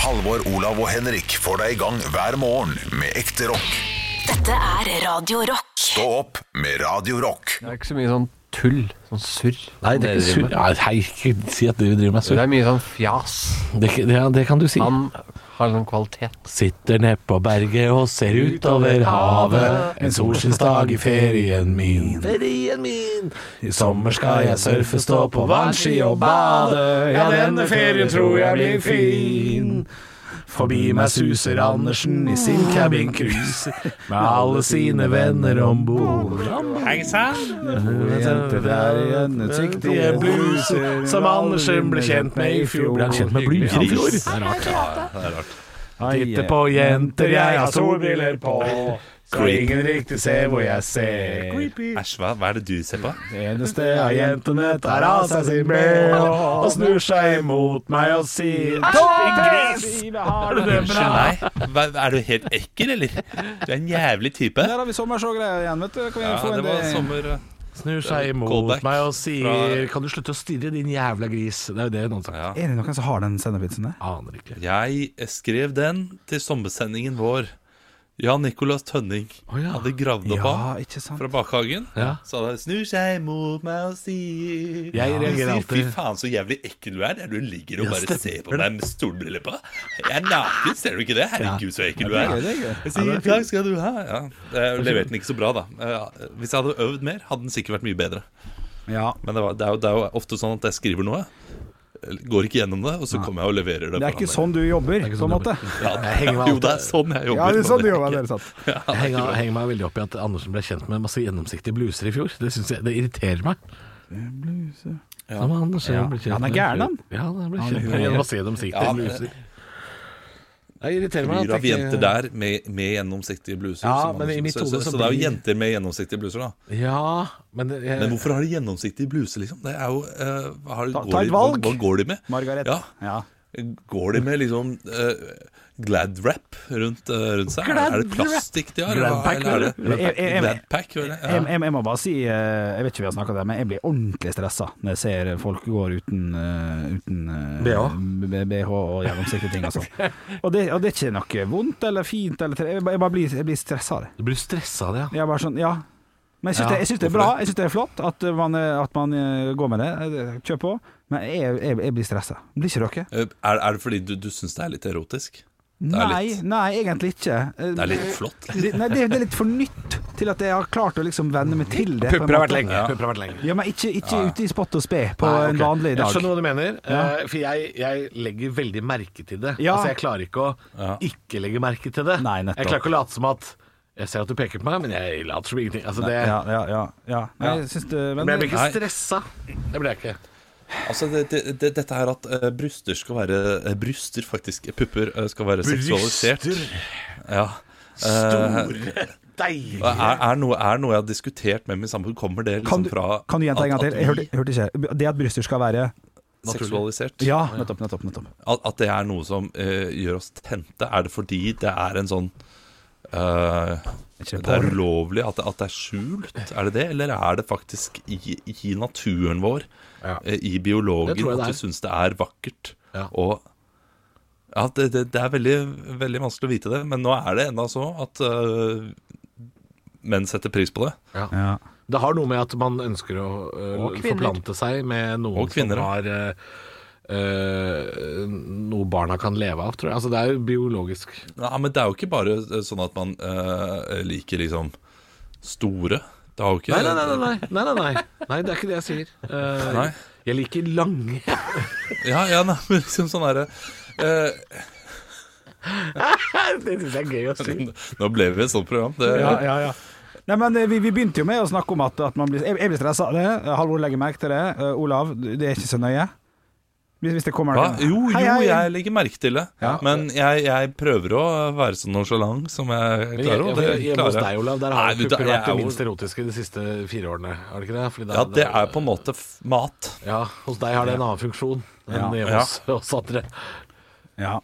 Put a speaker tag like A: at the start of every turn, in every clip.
A: Halvor, Olav og Henrik får deg i gang hver morgen med ekte rock.
B: Dette er Radio Rock.
A: Stå opp med Radio Rock.
C: Det er ikke så mye sånn tull, sånn surr.
D: Nei, det er ikke surr. eh, Nei, hei, ikke si at dere driver med
C: Det
D: surr.
C: er mye sånn fjas.
D: Det, er ikke- ja, det kan du si.
C: Han har sånn kvalitet.
D: Sitter ned på berget og ser utover havet. En solskinnsdag i ferien min. Ferien min. I sommer skal jeg surfe, stå på vannski og bade. Ja, denne ferien tror jeg blir fin. Forbi meg suser Andersen i sin cabin cruise med alle sine venner om bord.
E: Hei sann!
D: Siktige bluser som Andersen ble kjent med i fjor. Ble han kjent med blues i fjor? Titte på jenter, jeg har solbriller på. Skal ingen riktig se hvor jeg ser.
E: Æsj, hva, hva er det du ser på?
D: Eneste av jentene tar av seg sin bh og snur seg imot meg og sier Toppegris! Har du det bra?
E: Unnskyld meg, hva, er du helt ekkel, eller? Du er en jævlig type.
F: Der har vi sommersågreier igjen, vet du. Kan vi
E: Ja,
F: få en eh,
E: det var sommer... eh.
D: Snur seg imot
E: Callback
D: meg og sier Kan du slutte å stirre, din jævla gris? Det er jo det noen
E: Ja.
D: sagt.
F: Er det noen som har den sendepizzaen der?
D: Aner ikke.
E: Jeg skrev den til sommersendingen vår. Jan Nicolas Tønning
D: ja.
E: hadde gravd opp
F: Ja,
E: han
F: ikke sant?
E: fra bakhagen.
D: Ja.
E: Så han snur seg mot meg og sier
D: Jeg
E: Han
D: reagerer
E: sier, Fy
D: alltid-
E: faen, så jævlig ekkel du er. Der du ligger og
D: Ja,
E: bare ser
D: stemmer
E: på meg med stolbriller på. Jeg er naken, ser du ikke det? Herregud, så ekkel du er.
F: det er gøy.
E: Jeg sier takk skal du ha. Ja. Jeg leverte den ikke så bra, da. Eh, Hvis jeg hadde øvd mer, hadde den sikkert vært mye bedre.
F: Ja.
E: Men det, var, det, er jo, det er jo ofte sånn at jeg skriver noe, går ikke gjennom det, og så kommer jeg og leverer det.
F: Det er
E: på
F: ikke
E: andre.
F: sånn du jobber, på en måte.
E: ja, det,
D: henger meg
E: Jo, det er
D: alltid-
E: sånn jeg jobber.
F: Ja, det er sånn du
E: men
F: jobber.
E: ikke-
F: Det er sant.
D: Jeg henger, henger meg veldig opp i at Andersen ble kjent med masse gjennomsiktige bluser i fjor. Det, synes jeg, det irriterer meg. Ja. Andersen,
F: Ja.
D: ble kjent
F: Han er
D: med-
F: gæren, han.
D: Ja, han ble
F: Han er
D: kjent med
F: gæren.
D: masse gjennomsiktige
E: Ja, det-
D: bluser. Det irriterer meg.
E: Flyr
D: at
E: av
D: jeg ikke-
E: jenter der med, med gjennomsiktige bluser.
D: Ja,
E: som
D: men i
E: Andersen-
D: mitt
E: så, så,
D: hode
E: så,
D: så
E: det er jo
D: blir- Eh.
E: jenter med gjennomsiktige bluser, da.
D: Ja, men det, jeg,
E: Men hvorfor har de gjennomsiktige bluser, liksom? Det er jo eh, hva har,
F: Ta- ta
E: går
F: et
E: de,
F: valg.
E: Hva, hva går de med?
F: Margaret.
E: Ja.
F: Ja.
E: Går de med liksom eh, Glad-wrap rundt, eh, rundt seg? Er det plastikk de har? eller hva-
D: Glad-pack,
E: eller er det-
F: vel? Jeg- jeg- jeg-
E: Glad-pack, vel? Ja.
F: Jeg, jeg, jeg må bare si, eh, jeg vet ikke om vi har snakka om det, men jeg blir ordentlig stressa når jeg ser folk går uten, eh, uten eh,
D: BH.
F: b- BH og gjennomsiktige ting og sånn. Og, det- og det er ikke noe vondt eller fint eller tre- Jeg bare jeg bare blir, jeg blir stressa av det.
D: Du blir stressa av det, ja.
F: Jeg er bare sånn, ja. Men jeg syns,
D: Ja,
F: det, jeg synes det er bra, jeg synes det er flott at man, at man eh, går med det. Eh, Kjør på. Men jeg, jeg, jeg blir stressa. Blir ikke dere?
E: Eh, Er, er det fordi du, du syns det er litt erotisk? Det er
F: Nei,
E: litt-
F: nei, egentlig ikke. Eh,
E: Det er litt flott? liksom.
F: det, nei, det, det er litt for nytt til at jeg har klart å liksom venne meg til det. på en
D: Pupper har vært
F: måte.
D: lenge. Pupper har vært lenge.
F: Ja, men ikke, ikke ute i spott og spe på
D: Nei, ok.
F: en vanlig
D: Jeg
F: dag.
D: skjønner hva du mener, eh, for jeg, jeg legger veldig merke til det.
F: Ja.
D: Altså, jeg klarer ikke å ikke legge merke til det.
F: Nei, nettopp.
D: jeg klarer ikke å late som at Jeg ser at du peker på meg, men jeg later som ingenting. Altså, det,
F: Ja, ja, ja. ja. Nei, jeg syns det men,
D: Men jeg blir
E: Nei.
D: ikke stressa. Det blir jeg ikke.
E: Altså, det, det, det, dette her at eh, bryster skal være eh, Bryster, faktisk. Pupper eh, skal være seksualisert. Ja. Eh,
D: Store, deilige
E: Er, er, noe, er noe jeg har diskutert med min samboer, kommer det
F: Kan
E: liksom
F: du,
E: fra
F: kan du gjenta en gang
E: at-
F: til? Jeg hørte, jeg hørte ikke. Det at bryster skal være
E: at vi seksualisert?
F: Ja, nettopp, nettopp. nettopp.
E: At, at det er noe som eh, gjør oss tente? Er det fordi det er en sånn eh,
F: Ikke
E: Det er
F: porno.
E: ulovlig? At, det- at det er skjult? Er det det? Eller er det faktisk i, i naturen vår,
D: Ja.
E: eh,
D: Det
E: i
D: tror
E: biologen,
D: jeg det
E: at
D: er.
E: du syns det er vakkert?
D: Ja.
E: Og ja, det, det, det er veldig, veldig vanskelig å vite det, men nå er det enda så at øh, menn setter pris på det.
F: Ja.
D: Det har noe med at man ønsker å øh,
C: Og kvinner.
D: forplante seg med noen
E: Og kvinner,
D: som
E: ja.
D: har øh, øh, noe barna kan leve av, tror jeg. Altså, det er jo biologisk.
E: Ja, men det er jo ikke bare øh, sånn at man øh, liker liksom store. Det har jo ikke
D: Nei, nei, nei. nei, nei, nei, nei. nei det er ikke det jeg sier. Eh,
E: Nei.
D: Jeg liker lange
E: Ja, ja, nei, men liksom sånn herre øh,
D: Det syns jeg er gøy å si.
E: Nå ble vi et sånt program. Det,
F: Ja, ja, ja. Nei, men eh, vi, vi begynte jo med å snakke om at, at man blir Jeg, jeg blir stressa av det. Halvor legger merke til det. Eh, Olav, det er ikke så nøye. Hvis, hvis det kommer
E: Hva?
F: noen-
E: Jo, jo,
F: Hei, hei.
E: jeg legger merke til det. Men jeg, jeg prøver å være så nonchalant som jeg
D: Men
E: klarer.
D: jeg-
E: og det
D: jeg- Hjemme hos
E: klarer jeg.
D: deg, Olav, der
E: Nei,
D: har
E: vet du,
D: pupper
E: jeg
D: vært det
E: er jo-
D: minst erotiske de siste fire årene. Har det ikke det? Fordi
E: Ja, det er på en måte f- mat.
D: Ja, hos deg har det en annen funksjon enn
F: Ja.
D: hjemme hos oss andre.
F: Ja.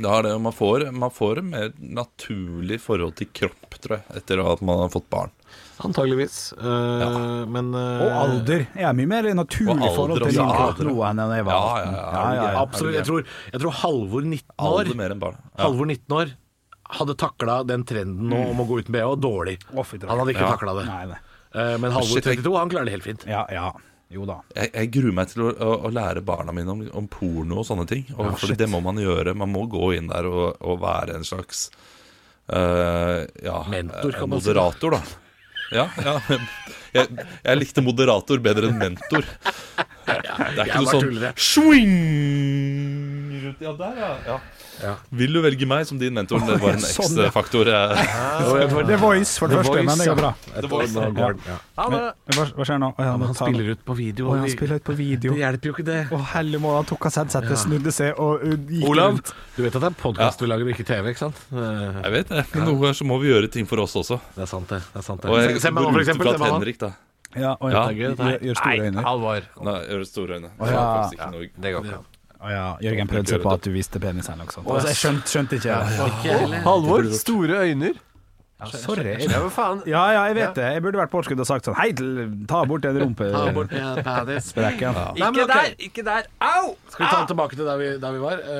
E: Det er det, man får, man får et mer naturlig forhold til kropp, tror jeg, etter at man har fått barn.
D: Antageligvis. Eh, Men eh,
F: Og alder. Jeg er mye mer i naturlig
E: Og alder
F: forhold til min
E: også, ja.
F: kropp nå enn da jeg var
E: Ja, ja, ja,
F: Ja, ja, ja.
D: Absolutt. Jeg tror, jeg tror Halvor 19
E: Alder
D: år
E: mer enn barn. Ja.
D: Halvor 19 år hadde takla den trenden nå om å gå uten BH dårlig.
F: Å, fy drakk.
D: Han hadde ikke
E: Ja.
D: takla det.
F: Nei, nei.
D: Eh, Men Halvor
E: Shit, jeg-
D: 32, han klarer det helt fint.
F: Ja, ja. Jo da.
E: Jeg, jeg gruer meg til å, å, å lære barna mine om, om porno og sånne ting. Og, fordi det må man gjøre. Man må gå inn der og, og være en slags eh, ja,
D: Mentor, kan
E: eh,
D: man si.
E: moderator, da. Ja, ja. Jeg, jeg likte moderator bedre enn mentor. Det er ikke
D: jeg
E: noe
D: bare
E: sånn
D: tuller, jeg.
E: swing rundt Ja, der, ja. ja.
D: Ja.
E: Vil du velge meg som din mentor? Det var en
F: Sånn, ja.
E: ekstra faktor. eh.
F: The Voice, for det
D: The
F: første,
D: Voice,
F: men det går bra.
D: Et år nå går den, ja.
F: Men, men hva, hva skjer nå? Å, ja, nå
D: Han
F: tar-
D: spiller ut på video.
F: Å, ja, han spiller ut på video.
D: Det hjelper jo ikke det.
F: Å, helle må, han tok av seg headsetet, snudde seg og uh, gikk
D: Olav,
F: rundt.
D: du vet at det er podkast vi lager, ikke TV, ikke sant? Eh,
E: Jeg vet det, men noen ganger så må vi gjøre ting for oss også.
D: Det er sant, det. det, er sant, det.
E: Og jeg
D: Se meg nå,
E: går
D: for
E: ut
D: eksempel.
E: ifra
D: Se
E: at
D: meg nå.
E: Henrik, da.
F: Ja, å,
E: Ja.
F: ja. Gjør, gjør store
C: Nei,
F: øyne.
C: Alvor.
E: Nei, gjør store øyne.
F: Å, ja.
E: Faktisk ikke noe
C: Det går ikke.
F: Å, ja. Jørgen prøvde seg på at du viste penisen. Liksom.
C: Å, ja.
F: Altså, jeg skjønte, skjønte ikke.
C: Halvor, store øyne.
F: Ja, sorry.
C: Ja, men faen.
F: Ja, ja, jeg vet det. Jeg burde vært på overskudd og sagt sånn Hei, til- ta bort den
D: Ta bort, ja, penis.
F: rumpesprekken.
D: Nei, men
C: Ikke
D: ok.
C: der, ikke der. Au!
D: Skal vi ta den tilbake til der vi, der vi var? Eh,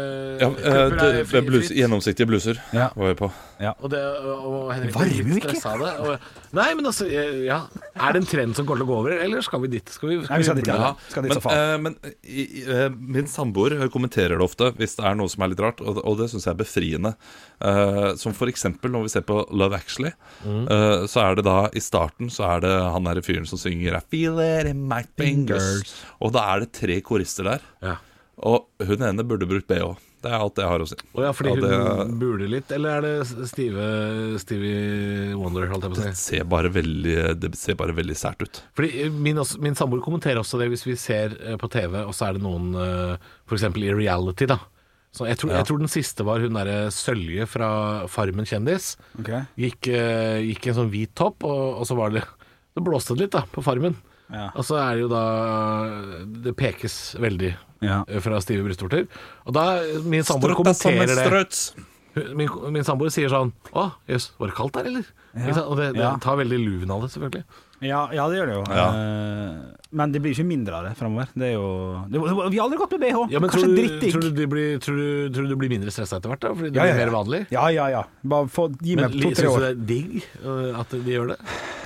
E: Ja, eh,
D: Cooper er
E: det,
D: fri-
E: det blus,
D: fritt,
E: gjennomsiktige bluser
F: Ja.
E: var jeg på.
D: Og, det, og Henrik
F: Varmer
D: ble
F: jo
D: litt
F: ikke.
D: stresset av Det, og, nei, men altså, eh, ja. Er det en trend som kommer til å gå over, eller skal vi dit? Skal vi,
F: Nei, vi skal dit,
D: bli-
F: ja.
E: Ja,
F: Skal dit
E: men
F: så faen.
E: eh, men i, i, eh, min samboer kommenterer det ofte hvis det er noe som er litt rart, og, og det syns jeg er befriende. Eh, som for eksempel når vi ser på Love Actually,
F: Mm.
E: eh, så er det da i starten så er det han derre fyren som synger I feel it in my fingers. Og da er det tre korister der.
D: Ja.
E: Og hun ene burde brukt BH. Det er alt jeg har å si.
D: Å ja, fordi
E: Ja, det-
D: hun buler litt, eller er det stive Stevie Wonder, holdt jeg på å
E: Det
D: si.
E: ser bare veldig, det ser bare veldig sært ut.
D: Fordi eh, min, også- min samboer kommenterer også det hvis vi ser eh, på TV, og så er det noen eh, For eksempel i reality, da. Så jeg, tror, jeg tror den siste var hun derre Sølje fra Farmen kjendis.
F: Ok.
D: Gikk, eh, gikk i en sånn hvit topp, og, og så var det Det blåste det litt, da, på Farmen.
F: Ja.
D: Og så er det jo da Det pekes veldig
F: Ja.
D: eh, fra stive brystvorter. Og da Min samboer kommenterer det. Hun- Min, min samboer sier sånn Å, jøss, var det kaldt der, eller? Ikke sant? Og det, det
F: Ja.
D: tar veldig luven av det, selvfølgelig.
F: Ja, ja, det gjør det jo. Eh, Men det blir ikke mindre av det framover. Det er jo det, Vi har aldri gått med BH.
D: Ja, men tror
F: Kanskje
D: du,
F: drittdigg.
D: tror, du de blir, tror, du, tror du du blir mindre stressa etter hvert, da? Fordi det
F: Ja, ja,
D: blir
F: ja.
D: mer vanlig?
F: Ja, ja, ja. Bare få, gi
D: Men
F: meg
D: li-
F: to-tre
D: syns du
F: år.
D: det er digg øh, at de gjør det?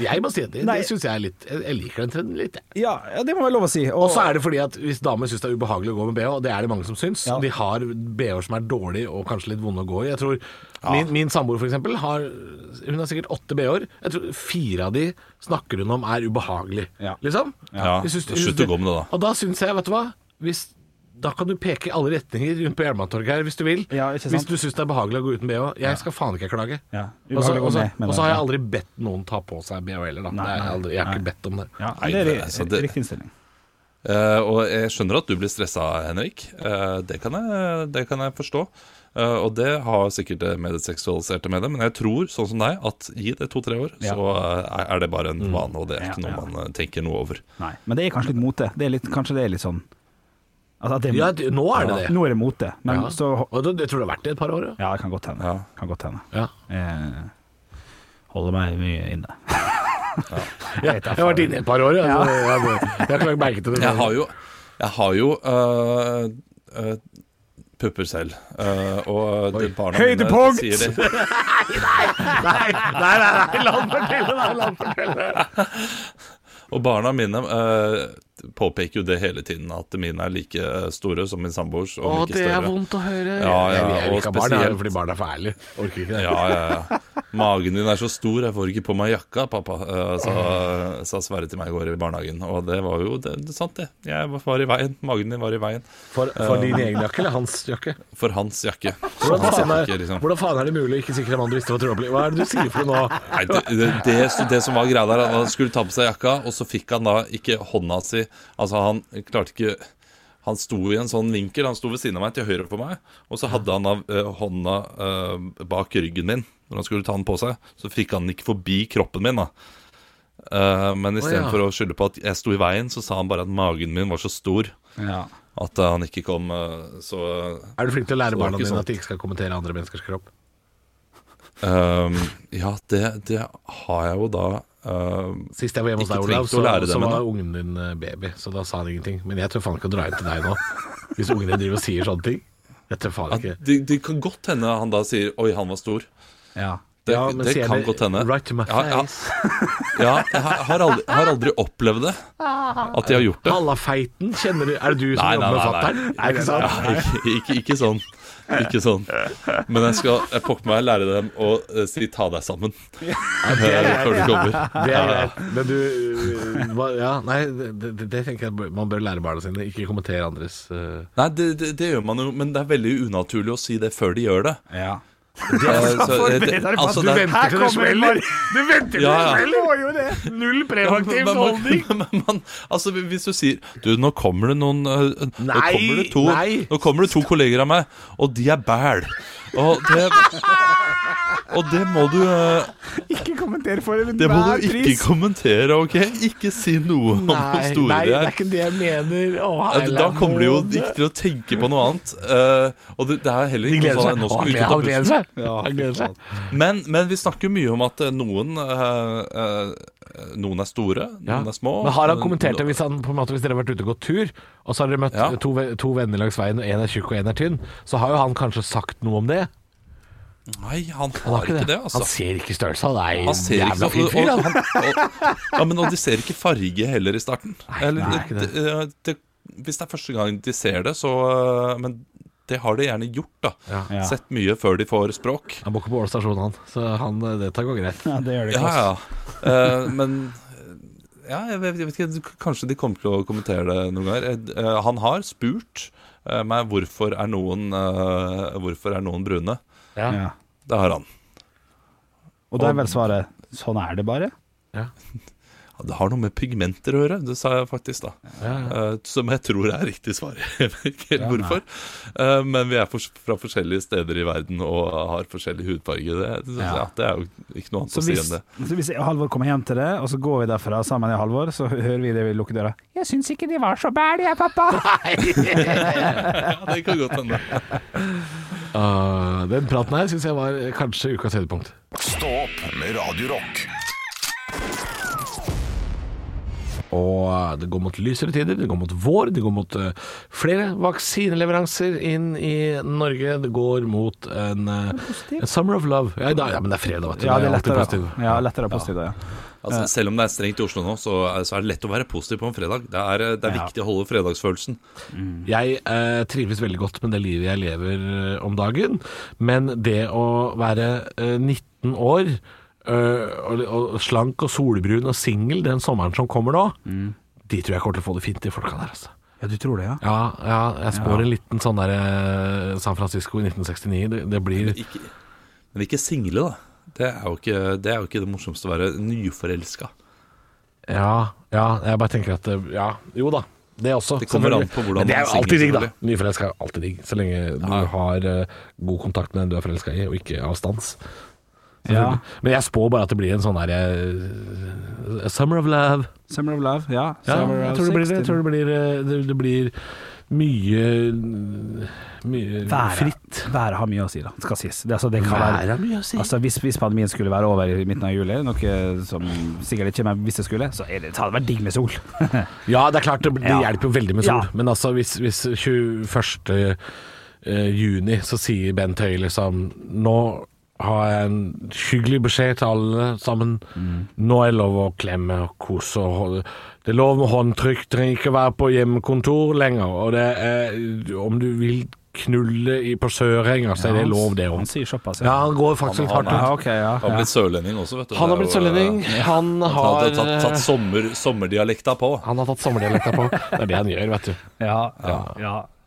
D: Jeg må si at det,
F: Nei.
D: det syns jeg er litt Jeg, jeg liker den trenden litt, jeg.
F: Ja, ja, det må være lov å si.
D: Og så er det fordi at hvis damer syns det er ubehagelig å gå med bh, og det er det mange som syns,
F: Ja.
D: de har bh-er som er dårlige og kanskje litt vonde å gå i. Jeg tror Min, min samboer for eksempel har Hun har sikkert åtte bh-er. Jeg tror fire av de snakker hun om er ubehagelig,
F: Ja.
D: liksom.
E: Ja,
D: Jeg syns-
E: da
D: jeg syns
E: slutt å gå med det, da.
D: Og da syns jeg, vet du hva hvis, Da kan du peke i alle retninger rundt på Jernbanetorget her hvis du vil.
F: Ja, ikke sant?
D: hvis du syns det er behagelig å gå uten bh. Jeg skal faen ikke klage.
F: Ja,
D: Og så-
F: ubehagelig å gå
D: og så
F: med, mener
D: og så har jeg
F: jeg.
D: aldri bedt noen ta på seg bh heller, da.
F: Nei,
D: Det er jeg, aldri, jeg har ikke bedt om det.
F: ja,
E: Nei,
F: det er
E: men altså, det-
F: riktig innstilling.
E: Eh, og jeg skjønner at du blir stressa, Henrik. Eh, det, kan jeg, det kan jeg forstå. Eh, og det har sikkert det med det seksualiserte med det, men jeg tror, sånn som deg, at gi det to-tre år,
F: Ja.
E: så eh, er det bare
D: Mm.
E: en vane, og det er ikke
F: Ja,
E: noe
F: ja.
E: man eh, tenker noe over.
F: Nei, men det er kanskje litt mote. Det er litt, kanskje det er litt sånn altså, at det,
D: Ja, det- nå er det det.
F: Nå er det mote, men
D: Ja.
F: så
D: Og det, jeg tror det har vært det et par år, ja.
F: Ja, det kan godt hende.
E: Ja.
F: Kan godt hende.
D: ja.
F: Eh, holder meg mye inne.
D: Jeg, jeg har vært inne i et par år, ja. så Jeg, jeg, jeg har ikke lagt merke til det.
E: Jeg har jo, jeg har jo øh, øh, pupper selv. Øh, og de barna
F: Høydepunkt!
E: mine sier det.
D: Nei, nei, nei, nei, la han fortelle, nei, la han fortelle.
E: Og barna mine øh, påpeker jo det hele tiden, at mine er like eh, store som min samboers. Og like større.
D: å høre.
E: Ja, ja,
D: jeg, jeg vil
E: og
D: ikke ha barn, jeg,
E: spesielt-
D: fordi barn er for ærlige. Orker ikke det.
E: Ja, ja, ja. Magen din er så stor, jeg får ikke på meg jakka, pappa, øh, sa, sa Sverre til meg i går i barnehagen. Og det var jo det, det er sant, det. Jeg var i veien. Magen din var i veien
D: For, for din egen jakke eller hans jakke?
E: for hans jakke. Så
D: Hvordan
E: han
D: faen
E: fikk
D: er,
E: ikke, liksom-
D: hvordan faen er det mulig å ikke sikre en mann du visste var trådblid? Hva er det du sier for noe nå?
E: Nei, det, det, det, det som var greia der, han skulle ta på seg jakka, og så fikk han da ikke hånda si Altså, han klarte ikke Han sto i en sånn vinkel, han sto ved siden av meg, til høyre for meg, og så hadde han da eh, hånda eh, bak ryggen min når han skulle ta den på seg. Så fikk han den ikke forbi kroppen min, da. Eh,
D: Å,
E: men istedenfor
D: ja.
E: for å skylde på at jeg sto i veien, så sa han bare at magen min var så stor.
F: Ja.
E: at eh, han ikke kom. eh, Så
D: Er du flink til å
E: Så
D: lære
E: det var
D: barna
E: ikke
D: dine
E: sant.
D: at de ikke skal kommentere andre menneskers kropp?
E: eh, Ja, det, det har jeg jo da eh,
D: Sist jeg var hjemme hos
E: Ikke
D: deg,
E: trengt
D: Olav,
E: å
D: så,
E: lære det,
D: så
E: men
D: var
E: da.
D: ungen din eh, baby, så da sa han ingenting. Men jeg tør faen ikke å dra hjem til deg nå, hvis ungen din driver og sier sånne ting. Jeg tør faen
E: ja,
D: ikke.
E: det, det kan godt hende han da sier 'oi, han var stor'.
F: Ja.
E: Det,
D: Ja, men
E: det
D: sier
E: kan
D: det
E: godt hende.
D: right to my
E: Ja, ja. Ja, jeg har har aldri, har aldri opplevd det. At de har gjort det.
D: Halla feiten, kjenner du Er det du som
E: Nei, nei,
D: jobber med
E: nei,
D: fatter'n?
E: nei.
D: Er det ikke sant?
E: Ja, ikke, ikke, ikke sånn. Ikke sånn. Men jeg skal jeg pokker meg lære dem å eh, si 'ta deg sammen' eh, før du kommer.
D: Det
E: Ja,
D: er
E: ja.
D: greit. Men du øh, hva- Ja, nei, det, det, det tenker jeg bør- man bør lære barna sine. Ikke kommentere andres øh.
E: Nei, det, det, det gjør man jo, men det er veldig unaturlig å si det før de gjør det.
F: ja.
E: Eh, så, eh, det- altså, det er-
D: Her kommer en Mar- Du venter til
E: Ja, ja.
D: det smeller! Null
E: Ja, men-
D: preventiv
E: men man-
D: holdning!
E: men man- Altså, hvis du sier Du, nå kommer det noen eh, Nå
D: Nei,
E: kommer det to,
D: nei.
E: Nå kommer det to kolleger av meg, og de er bæl. Og det Og det må du eh,
F: Ikke kommenter for
E: Det må du
F: enhver
E: ikke
F: pris.
E: kommentere, OK? Ikke si noe om hvor
D: Nei,
E: store
D: nei,
E: de
D: det er
E: er.
D: ikke det jeg mener. Å,
E: Eh, Da
D: Erland,
E: kommer de jo
D: nå-
E: ikke til å tenke på noe annet. Eh, og det, det er heller
D: De
E: ikke
D: gleder
E: noe
D: seg.
E: sånn at nå
D: Å,
E: skal vi
D: han
E: ut av bussen.
D: gleder seg.
F: Ja,
D: Han gleder seg.
E: Men, men vi snakker mye om at eh, noen eh, eh, Noen er store,
D: Ja.
E: noen er små.
D: Men har han
E: noen-
D: kommentert det hvis, han, på en måte, hvis dere har vært ute og gått tur, og så har dere møtt
E: Ja.
D: to, ve- to venner langs veien, og én er tjukk og én er tynn, så har jo han kanskje sagt noe om det?
E: Nei, han har,
D: Han har
E: ikke det, altså.
D: Han ser ikke størrelsen. Han er
E: Han
D: en
E: ser ikke
D: jævla
E: sånn
D: fin fyr,
E: og,
D: han.
E: og, og, ja, men, og de ser ikke farge heller i starten. Eller,
D: nei, ikke
E: det, eh,
D: det.
E: det, hvis det er første gang de ser det, så øh, Men det har de gjerne gjort, da.
F: Ja.
E: Sett mye før de får språk.
D: Han bor ikke på Ål stasjon, han, så han, eh, dette går greit.
F: Ja, det gjør det ikke.
E: Ja,
F: ass.
E: ja. Eh, men eh, ja, jeg vet, jeg vet ikke, kanskje de kommer til å kommentere det noen ganger. Eh, eh, han har spurt eh, meg hvorfor er noen eh, Hvorfor er noen brune.
D: Ja.
F: Ja.
E: Det har han.
F: Og da er vel svaret sånn er det bare.
E: Ja, Det har noe med pigmenter å gjøre, det sa jeg faktisk da. Eh, som jeg tror er riktig svar. Jeg vet ikke helt hvorfor. Eh, men vi er fors- fra forskjellige steder i verden og har forskjellig hudfarge. Det, det, ja. det er jo ikke noe annet
F: Så
E: å si
F: hvis,
E: enn det.
F: så hvis Halvor kommer hjem til det, og så går vi derfra sammen i Halvor, så hører vi det vi lukker døra. 'Jeg syns ikke de var så bæl, jeg, pappa'.
E: Ja, det kan godt hende.
D: Ah, den praten her syns jeg var eh, kanskje ukas høydepunkt.
A: Stå opp med Radio Rock.
D: Og eh, det går mot lysere tider, det går mot vår, det går mot eh, flere vaksineleveranser inn i Norge. Det går mot en, eh, en summer of love. Ja, i dag, ja, men det er fredag, vet du.
F: Ja,
D: Da
F: det er
D: alltid
F: lettere,
D: positiv.
F: ja, lettere positivt, ja.
E: Altså, selv om det er strengt i Oslo nå, så, er- så er det lett å være positiv på en fredag. Det er, eh, det er
F: Ja.
E: viktig å holde fredagsfølelsen.
D: Jeg eh, trives veldig godt med det livet jeg lever eh, om dagen, men det å være eh, 19 år eh, og, og slank og solbrun og singel den sommeren som kommer nå,
F: Mm.
D: de tror jeg kommer til å få det fint, de folka der, altså.
F: Ja, du tror det, ja?
D: Ja, ja jeg spår en liten sånn der eh, San Francisco i 1969. Det, det blir
E: Ikke, men ikke single, da. Det er jo ikke det, er jo ikke det morsomste å være nyforelska.
D: Ja, ja, jeg bare tenker at eh, Ja, jo da. Det også.
E: Det kommer an
D: selvfølgelig.
E: på hvordan
D: Men det er
E: man
D: jo
E: synger,
D: alltid digg, da.
E: selvfølgelig.
D: Nyforelska er alltid digg. Så lenge du har eh, god kontakt med den du er forelska i, og ikke avstands.
F: ja.
D: Men jeg spår bare at det blir en sånn derre eh, Summer of love.
F: Summer of love, ja.
D: Ja,
F: Summer
D: jeg
F: of
D: tror det blir det.
F: 16.
D: Jeg tror det blir, eh, det, det blir mye Mye
F: Været.
D: fritt.
F: Været har mye å si, da. Skal sies. Det, altså, det kan
D: Været
F: være
D: er mye å si.
F: Altså, hvis, hvis pandemien skulle være over i midten av juli, noe som sikkert ikke kommer hvis det skulle, så er det, det hadde vært digg med sol.
D: Ja, det er klart, det, det
F: Ja.
D: hjelper jo veldig med sol.
F: Ja.
D: Men altså, hvis, hvis 21. eh, juni så sier Bent Høie liksom Nå har jeg en hyggelig beskjed til alle sammen. Nå er det lov å klemme og kose og holde Det er lov med håndtrykk, trenger ikke være på hjemmekontor lenger. Og det er Om du vil knulle i, på Sørenga, så er det lov, det
F: Han
D: òg.
F: sier såpass,
D: Ja, han går faktisk
E: Han-
D: litt
E: han
D: hardt ut.
E: er-
F: Ja, ok, ja.
E: Han har blitt sørlending også, vet du.
D: Han har
E: Det
D: blitt
E: er jo,
D: sørlending. Han
E: Han
D: har
E: har tatt, tatt sommer, sommerdialekta på.
D: han har tatt sommerdialekta på. Det er det han gjør, vet du.
F: Ja, ja, ja.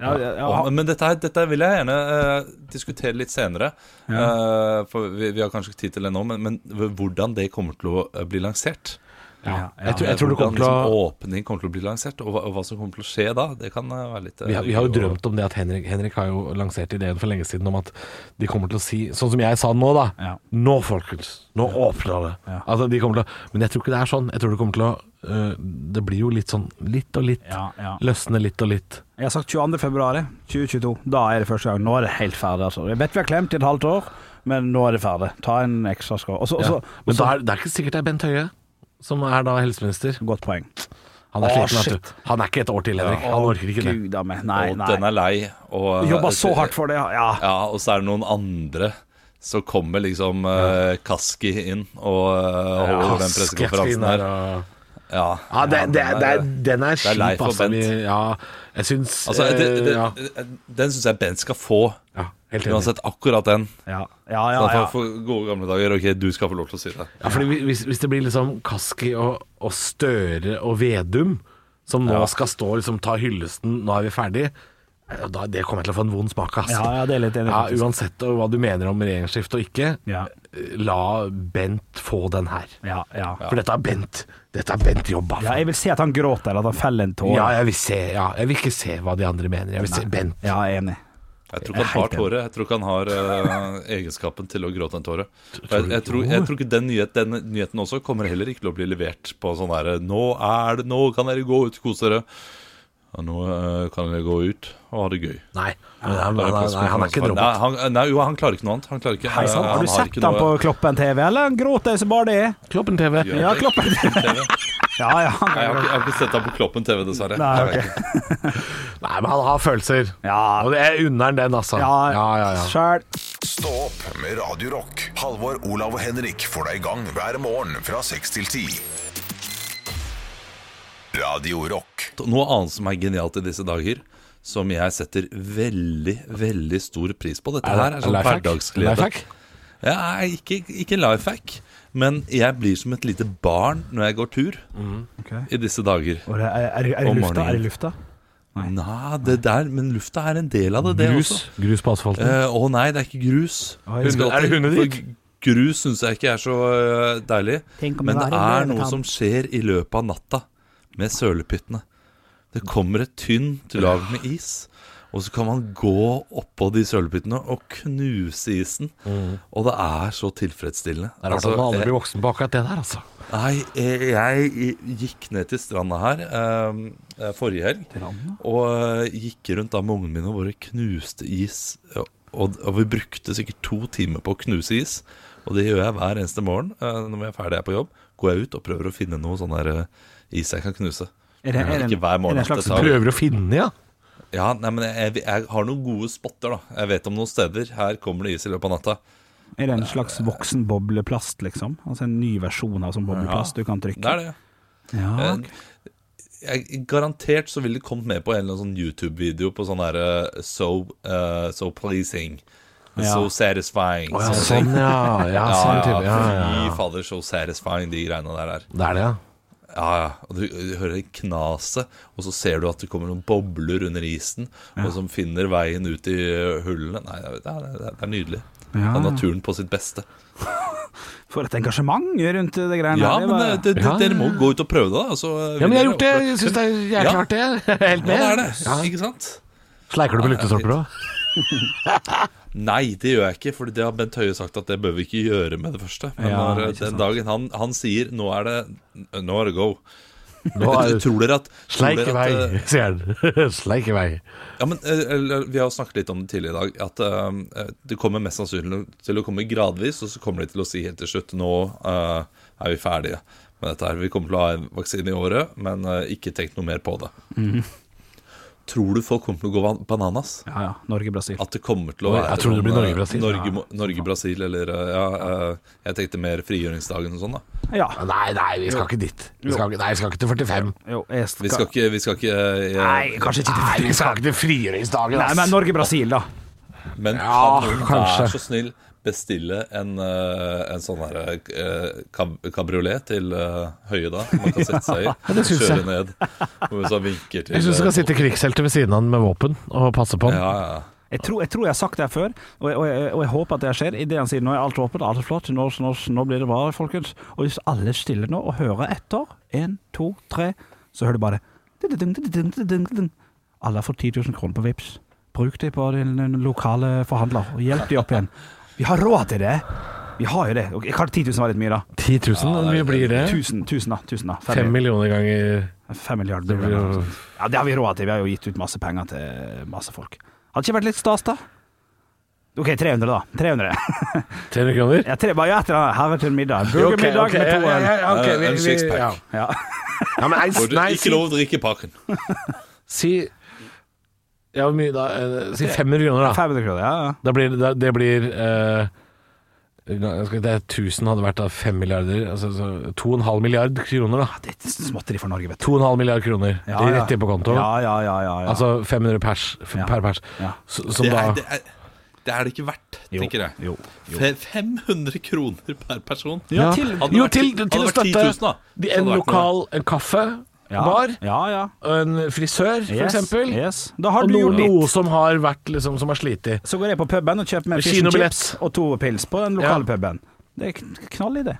F: ja, ja, ja.
E: Og, men dette, her- dette her vil jeg gjerne eh, diskutere litt senere. Eh, for vi, vi har kanskje ikke tid til det nå, men, men hvordan det kommer til å eh, bli lansert.
F: Ja, ja.
D: Jeg tror, jeg tror det
E: hvordan
D: kommer til å
E: liksom, åpning kommer til å bli lansert, og hva, og hva som kommer til å skje da. Det kan eh, være litt eh,
D: Vi har, vi har jo
E: og-
D: drømt om det at Henrik, Henrik har jo lansert ideen for lenge siden om at de kommer til å si Sånn som jeg sa nå, da.
F: Ja.
D: Nå, folkens. Nå åpner det. Altså, de kommer til å, men jeg tror ikke det er sånn. Jeg tror det kommer til å eh, det blir jo litt sånn litt og litt.
F: Ja, ja.
D: Løsner litt og litt.
F: Jeg har sagt 22. februar 2022. Da er det første gang. Nå er det helt ferdig. Altså. Jeg vet vi har klemt i et halvt år, men nå er det ferdig. Ta en ekstra skår. Og så- og så-
D: Ja.
F: og
D: Men
F: så-
D: da er, det er ikke sikkert det er Bent Høie som er da helseminister.
F: Godt poeng.
D: Han er
F: Å,
D: sliten, vet du. Han er ikke et år til, Henrik. Han orker ikke det.
F: Gud a meg. Nei,
E: og den
F: nei.
E: er lei. Og, eh, altså,
F: Jobba så hardt for det, ja.
E: Ja, og så er det noen andre. Så kommer liksom eh, Kaski inn og eh, holder den pressekonferansen
D: Skeptisk
E: her.
D: der, og-
E: Ja,
D: Ja, det, det,
E: den
D: det,
E: er-
D: den er
E: er lei
D: kjip,
E: for
D: altså.
E: Bent.
D: Vi- Ja, jeg syns
E: Altså, det,
D: eh,
E: det,
D: ja.
E: Den syns jeg Bent skal få.
D: ja, helt enig.
E: Uansett, akkurat den.
F: Ja, ja,
E: Sånn
F: ja.
E: at
F: ja.
E: han får gode gamle dager. Ok, du skal få lov til å si det.
D: Ja, fordi vi- hvis, hvis det blir liksom Kaski og, og Støre og Vedum som nå skal stå og liksom, ta hyllesten 'nå er vi ferdig', eh, da, det kommer jeg til å få en vond smak av. ass.
F: Ja, ja, det er litt enig,
D: Ja,
F: faktisk.
D: uansett og hva du mener om regjeringsskifte og ikke,
F: Ja.
D: eh, la Bent få den her.
F: Ja, ja.
D: For dette er Bent. Dette er Bent jobba
F: ja,
D: for.
F: jeg vil se at han gråter, eller at han feller en tåre.
D: Ja, jeg vil se ja, Jeg vil ikke se hva de andre mener. Jeg vil se Bent.
F: Ja, jeg er enig.
E: Jeg tror ikke han har tårer. Jeg tror ikke han har eh, egenskapen til å gråte en tåre. Og Jeg, jeg, tror, jeg tror ikke den, nyhet, den nyheten også kommer heller ikke til å bli levert på sånn derre Nå er det Nå kan dere gå ut og kose dere. Ja, nå eh, kan dere gå ut og ha det gøy.
D: Nei, men han, nei, nei, han er ikke en
E: Nei,
D: robot.
E: han, nei, jo, han klarer ikke noe annet. Han klarer ikke
F: Hei sann,
E: eh,
F: har du
E: har
F: sett
E: ikke
F: han på
E: noe-
F: Kloppen TV, eller? Han gråter som bare det.
D: Kloppen TV.
E: Gjør
F: Ja,
E: det.
F: Kloppen TV.
E: TV.
F: Ja, ja.
E: Nei, jeg har, ikke, jeg har ikke sett han på Kloppen TV, dessverre.
F: Nei,
E: Jeg vet
F: ok.
E: ikke.
D: Nei, men han har følelser.
F: Ja.
D: Og det er under den, altså.
F: Ja,
D: ja, ja, ja.
F: Sjæl.
A: Stå opp med Radio Rock. Halvor, Olav og Henrik får deg i gang hver morgen fra 6 til 10. Radio Rock.
E: Noe annet som er genialt i disse dager, som jeg setter veldig, veldig stor pris på. Dette her er sånn
D: Lifehack?
E: hverdagsglede.
D: Lifehack?
E: Ja, nei, ikke, ikke life hack, men jeg blir som et lite barn når jeg går tur i disse dager.
F: Og det Er, er, er, det
E: Om
F: lufta?
E: morgenen.
F: Er det lufta?
E: Nei, det der, men lufta er en del av det, det
D: Grus,
E: også.
D: grus på asfalten.
E: Eh, å nei, det er ikke grus.
F: Oi.
E: Det skal
D: Er det
E: til,
D: hundedrikk?
E: for Grus syns jeg ikke er så eh, deilig.
F: Tenk om
E: Men det
F: det var en
E: er noe
F: løvetann.
E: som skjer i løpet av natta med sølepyttene. Det kommer et tynt lag med is, og så kan man gå oppå de sølepyttene og knuse isen. Og det er så tilfredsstillende.
D: Mm. Det er rart
E: Altså,
D: at man
E: eh,
D: aldri blir voksen på akkurat det der, altså.
E: Nei, eh, jeg gikk ned til stranda her eh, eh, forrige helg. Og eh, gikk rundt da med ungene mine og bare knuste is. eh, Og, og vi brukte sikkert to timer på å knuse is. Og det gjør jeg hver eneste morgen eh, når jeg er ferdig her på jobb. Går jeg ut og prøver å finne noe sånn der eh, is jeg kan knuse.
F: Er det- er det-
E: Ikke hver morgen.
F: er det en
E: at det
F: slags
E: tar-
D: Prøver å finne, ja.
E: ja, nei, men jeg, jeg har noen gode spotter, da. Jeg vet om noen steder. Her kommer det is i løpet av natta.
F: Er det en slags voksen bobleplast, liksom? Altså en ny versjon av sånn bobleplast du kan trykke?
E: Det er det.
F: Ja, ok.
E: jeg, garantert så ville det kommet med på en eller annen sånn YouTube-video på sånn derre so, eh, so pleasing. So satisfying.
D: Å, ja,
E: sånne
D: sånn,
E: ting.
D: ja. Ja,
E: Ja,
D: sånn
E: ja,
D: type. Ja, ja, ja.
E: Fy fader, so satisfying, de greiene der. der.
D: Det er det, ja.
E: Ja, ja. Og du, du hører knaset, og så ser du at det kommer noen bobler under isen, og som finner veien ut i eh, hullene. Nei, jeg vet, det, er, det er- det er nydelig.
F: Ja.
E: Det er naturen på sitt beste.
F: For et engasjement rundt det greiene der,
E: Ja,
F: det
E: men
F: var-
E: eh, det, det,
D: Ja, ja,
E: dere må gå ut og prøve det, da. Så, eh,
D: Ja,
E: vil
D: men jeg har
E: dere
D: gjort det.
E: oppleve-
D: Jeg syns det er jævlig
E: Ja.
D: klart, det. Jeg er Helt
E: Ja,
D: med.
E: det er det.
D: Ja.
E: Ikke sant?
D: Sleiker du på lyktestolper òg?
E: Nei, det gjør jeg ikke, for det har Bent Høie sagt at det bør vi ikke gjøre med det første. Men
F: Ja,
E: når,
F: ikke
E: den dagen han, han sier 'nå er det nå er det go',
D: Nå er det
E: tror dere at tror
D: Sleik i
E: dere at,
D: vei,
E: eh,
D: sier han. Sleik i vei.
E: Ja, men eh, eller, Vi har jo snakket litt om det tidligere i dag. At eh, eh, det kommer mest sannsynlig til å komme gradvis, og så kommer de til å si helt til slutt 'nå eh, er vi ferdige med dette her'. Vi kommer til å ha en vaksine i året, men eh, ikke tenk noe mer på det.
D: Mhm.
E: Tror du folk kommer til å gå ban- bananas?
F: Ja, ja. Norge-Brasil.
E: At det kommer til å
D: Oi,
E: være
D: jeg trodde det ble
E: sånn,
D: Norge-Brasil.
E: Norge, må- Norge-Brasil, eller eh, ja, eh, Jeg tenkte mer frigjøringsdagen og sånn, da.
F: Ja.
D: Nei, nei, vi skal ikke dit. Vi skal, ikke- nei, vi skal ikke til 45.
F: Jo, jeg
E: Vi skal ikke, vi skal ikke eh,
F: Nei, kanskje ikke
D: Nei,
F: til
D: vi skal ikke til frigjøringsdagen,
F: Nei, men
D: ass.
F: Norge-Brasil, da.
E: Men
D: Ja,
E: kan noen
D: kanskje.
E: være så snill bestille en, eh, en sånn her eh, kab kabriolet til eh, Høie, da? Man kan sette seg i.
D: det synes
E: kjøre
D: jeg.
E: ned. Hvor så vinker til
D: Jeg syns det skal
E: eh,
D: sitte krigshelter ved siden av han med våpen og passe på han.
E: Ja, ja.
F: Jeg tror, jeg tror jeg har sagt det her før, og jeg, og jeg, og jeg håper at det her skjer. I det han sier nå er alt åpent, alt er flott, nå, nå, nå blir det bra, folkens. Og hvis alle er stille nå og hører etter, én, to, tre, så hører du bare dun-dun-dun, dun-dun-dun-dun. Alle har fått 10 000 kroner på Vipps. eh, Bruk de på din din lokale forhandler, og hjelp de opp igjen. Vi har råd til det! Vi har jo det. Ok, Kanskje 10 000 var litt mye, da.
D: 10 000, hvor mye blir det?
F: 1000, 1000 da. 1000 da.
D: 5
F: milliarder.
D: millioner ganger
F: Fem milliarder
D: Det blir
F: eller noe
D: jo-
F: sånt. Ja, det har vi råd til. Vi har jo gitt ut masse penger til masse folk. Hadde ikke vært litt stas, da? OK, 300, da. 300.
D: 300 kroner?
F: Ja, tre, bare gjør et eller annet. Her er til en middag. Burgermiddag
D: Ok, ok,
F: med to
D: ja,
F: øl.
D: ja, ja, ok,
E: Eh,
D: vi-
E: en
D: vi-
E: sixpack.
D: ja.
F: Ja.
D: Ja, men
E: Får
D: nei,
E: du
D: nei,
E: ikke
D: si,
E: lov å drikke i pakken.
D: si Ja, hvor mye da? Eh, Si 500 kroner, da.
F: 500 kroner, ja. ja.
D: Da blir det- da- det blir eh, skal vi- det er 1000 hadde vært da 5 milliarder altså, så 2,5 milliard kroner, da.
F: Det er småtteri for Norge, vet du.
D: 2,5 milliard kroner
F: Ja,
D: Det er
F: ja.
D: rett inn på konto.
F: Ja, ja, ja. ja, ja.
D: Altså 500 pers, f-
F: Ja.
D: per pers.
F: Ja.
D: S- Som
E: Det
D: da
E: er det, er, det er det ikke verdt, tenker jeg.
F: Jo.
E: Fe- 500 kroner per person.
F: Ja, til,
E: Hadde det
D: Jo,
E: vært
D: til,
E: ti-
D: til å
E: hadde det vært
D: støtte
E: 10 000 da,
D: de-
E: så hadde
D: en
E: det vært noe.
D: lokal en kaffe,
F: ja.
D: bar,
F: Ja, ja.
D: og en frisør, for
F: Yes,
D: eksempel.
F: Yes. Da har
D: Og
F: du
D: noe,
F: gjort ditt.
D: noe som har vært liksom, som har slitt i.
F: Så går jeg på puben og kjøper meg fish and
D: Kinobillett.
F: chips og to pils på den lokale
D: Ja.
F: puben. Det er kn- knall i det.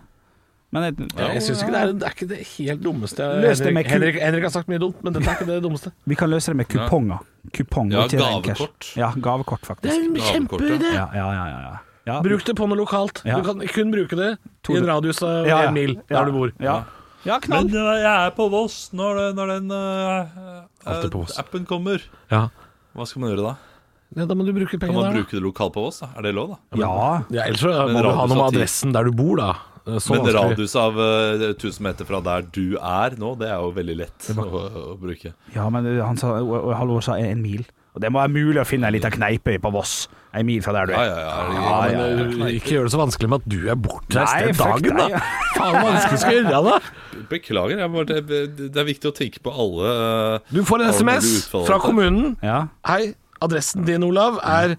F: Men jeg,
D: Jeg syns ikke det er, det er ikke det helt dummeste.
F: Løs det med
D: Henrik,
F: ku-
D: Henrik, Henrik har sagt mye dumt, men dette er ikke det dummeste.
F: Vi kan løse det med kuponger. Kuponger
E: Ja,
F: til ren cash.
E: gavekort.
F: Ja, gavekort,
D: Det er
F: faktisk.
D: en
E: Gavekortet.
D: kjempeidé!
F: Ja, ja, ja, ja, ja. ja.
D: Bruk det på noe lokalt.
F: Ja.
D: Du kan kun bruke det i en radius av
F: Ja, ja.
D: en mil der
F: Ja.
D: du bor.
F: Ja, ja knall.
E: Men øh, jeg er på Voss når, det- når den øh, øh,
D: Alltid på Voss.
E: appen kommer.
D: Ja.
E: Hva skal man gjøre da?
D: Ja, da må du bruke
E: Kan
D: pengene
E: man
D: der. da.
E: bruke det lokalt på Voss? da? Er det lov, da?
F: Ja.
D: Ja, ellers så må
E: Men
D: du ha
E: radius
D: noe med
E: av ti.
D: adressen der du bor, da. Så
E: Men
D: vanskelig.
E: radius av øh, 1000 meter fra der du er nå, det er jo veldig lett å, å bruke.
F: ja, men eh, han sa, og- og Halvor sa en mil. Og det må være mulig å finne ei lita kneipe på Voss. Ei mil fra der du
E: Ja,
F: er.
E: ja, ja.
F: Ja,
E: ja,
F: ja,
E: ja.
D: Men, eh, Ikke gjør det så vanskelig med at du er bortreist
F: Nei,
D: den
F: fuck
D: dagen,
F: deg,
D: da.
F: ja.
D: Faen, hva vanskelig skal jeg gjøre da?
E: Beklager, jeg bare, det, det er viktig å tenke på alle øh,
D: Du får en
E: alle
D: SMS
E: mulige utfall.
D: fra kommunen.
F: Ja,
D: Hei, adressen din, Olav, er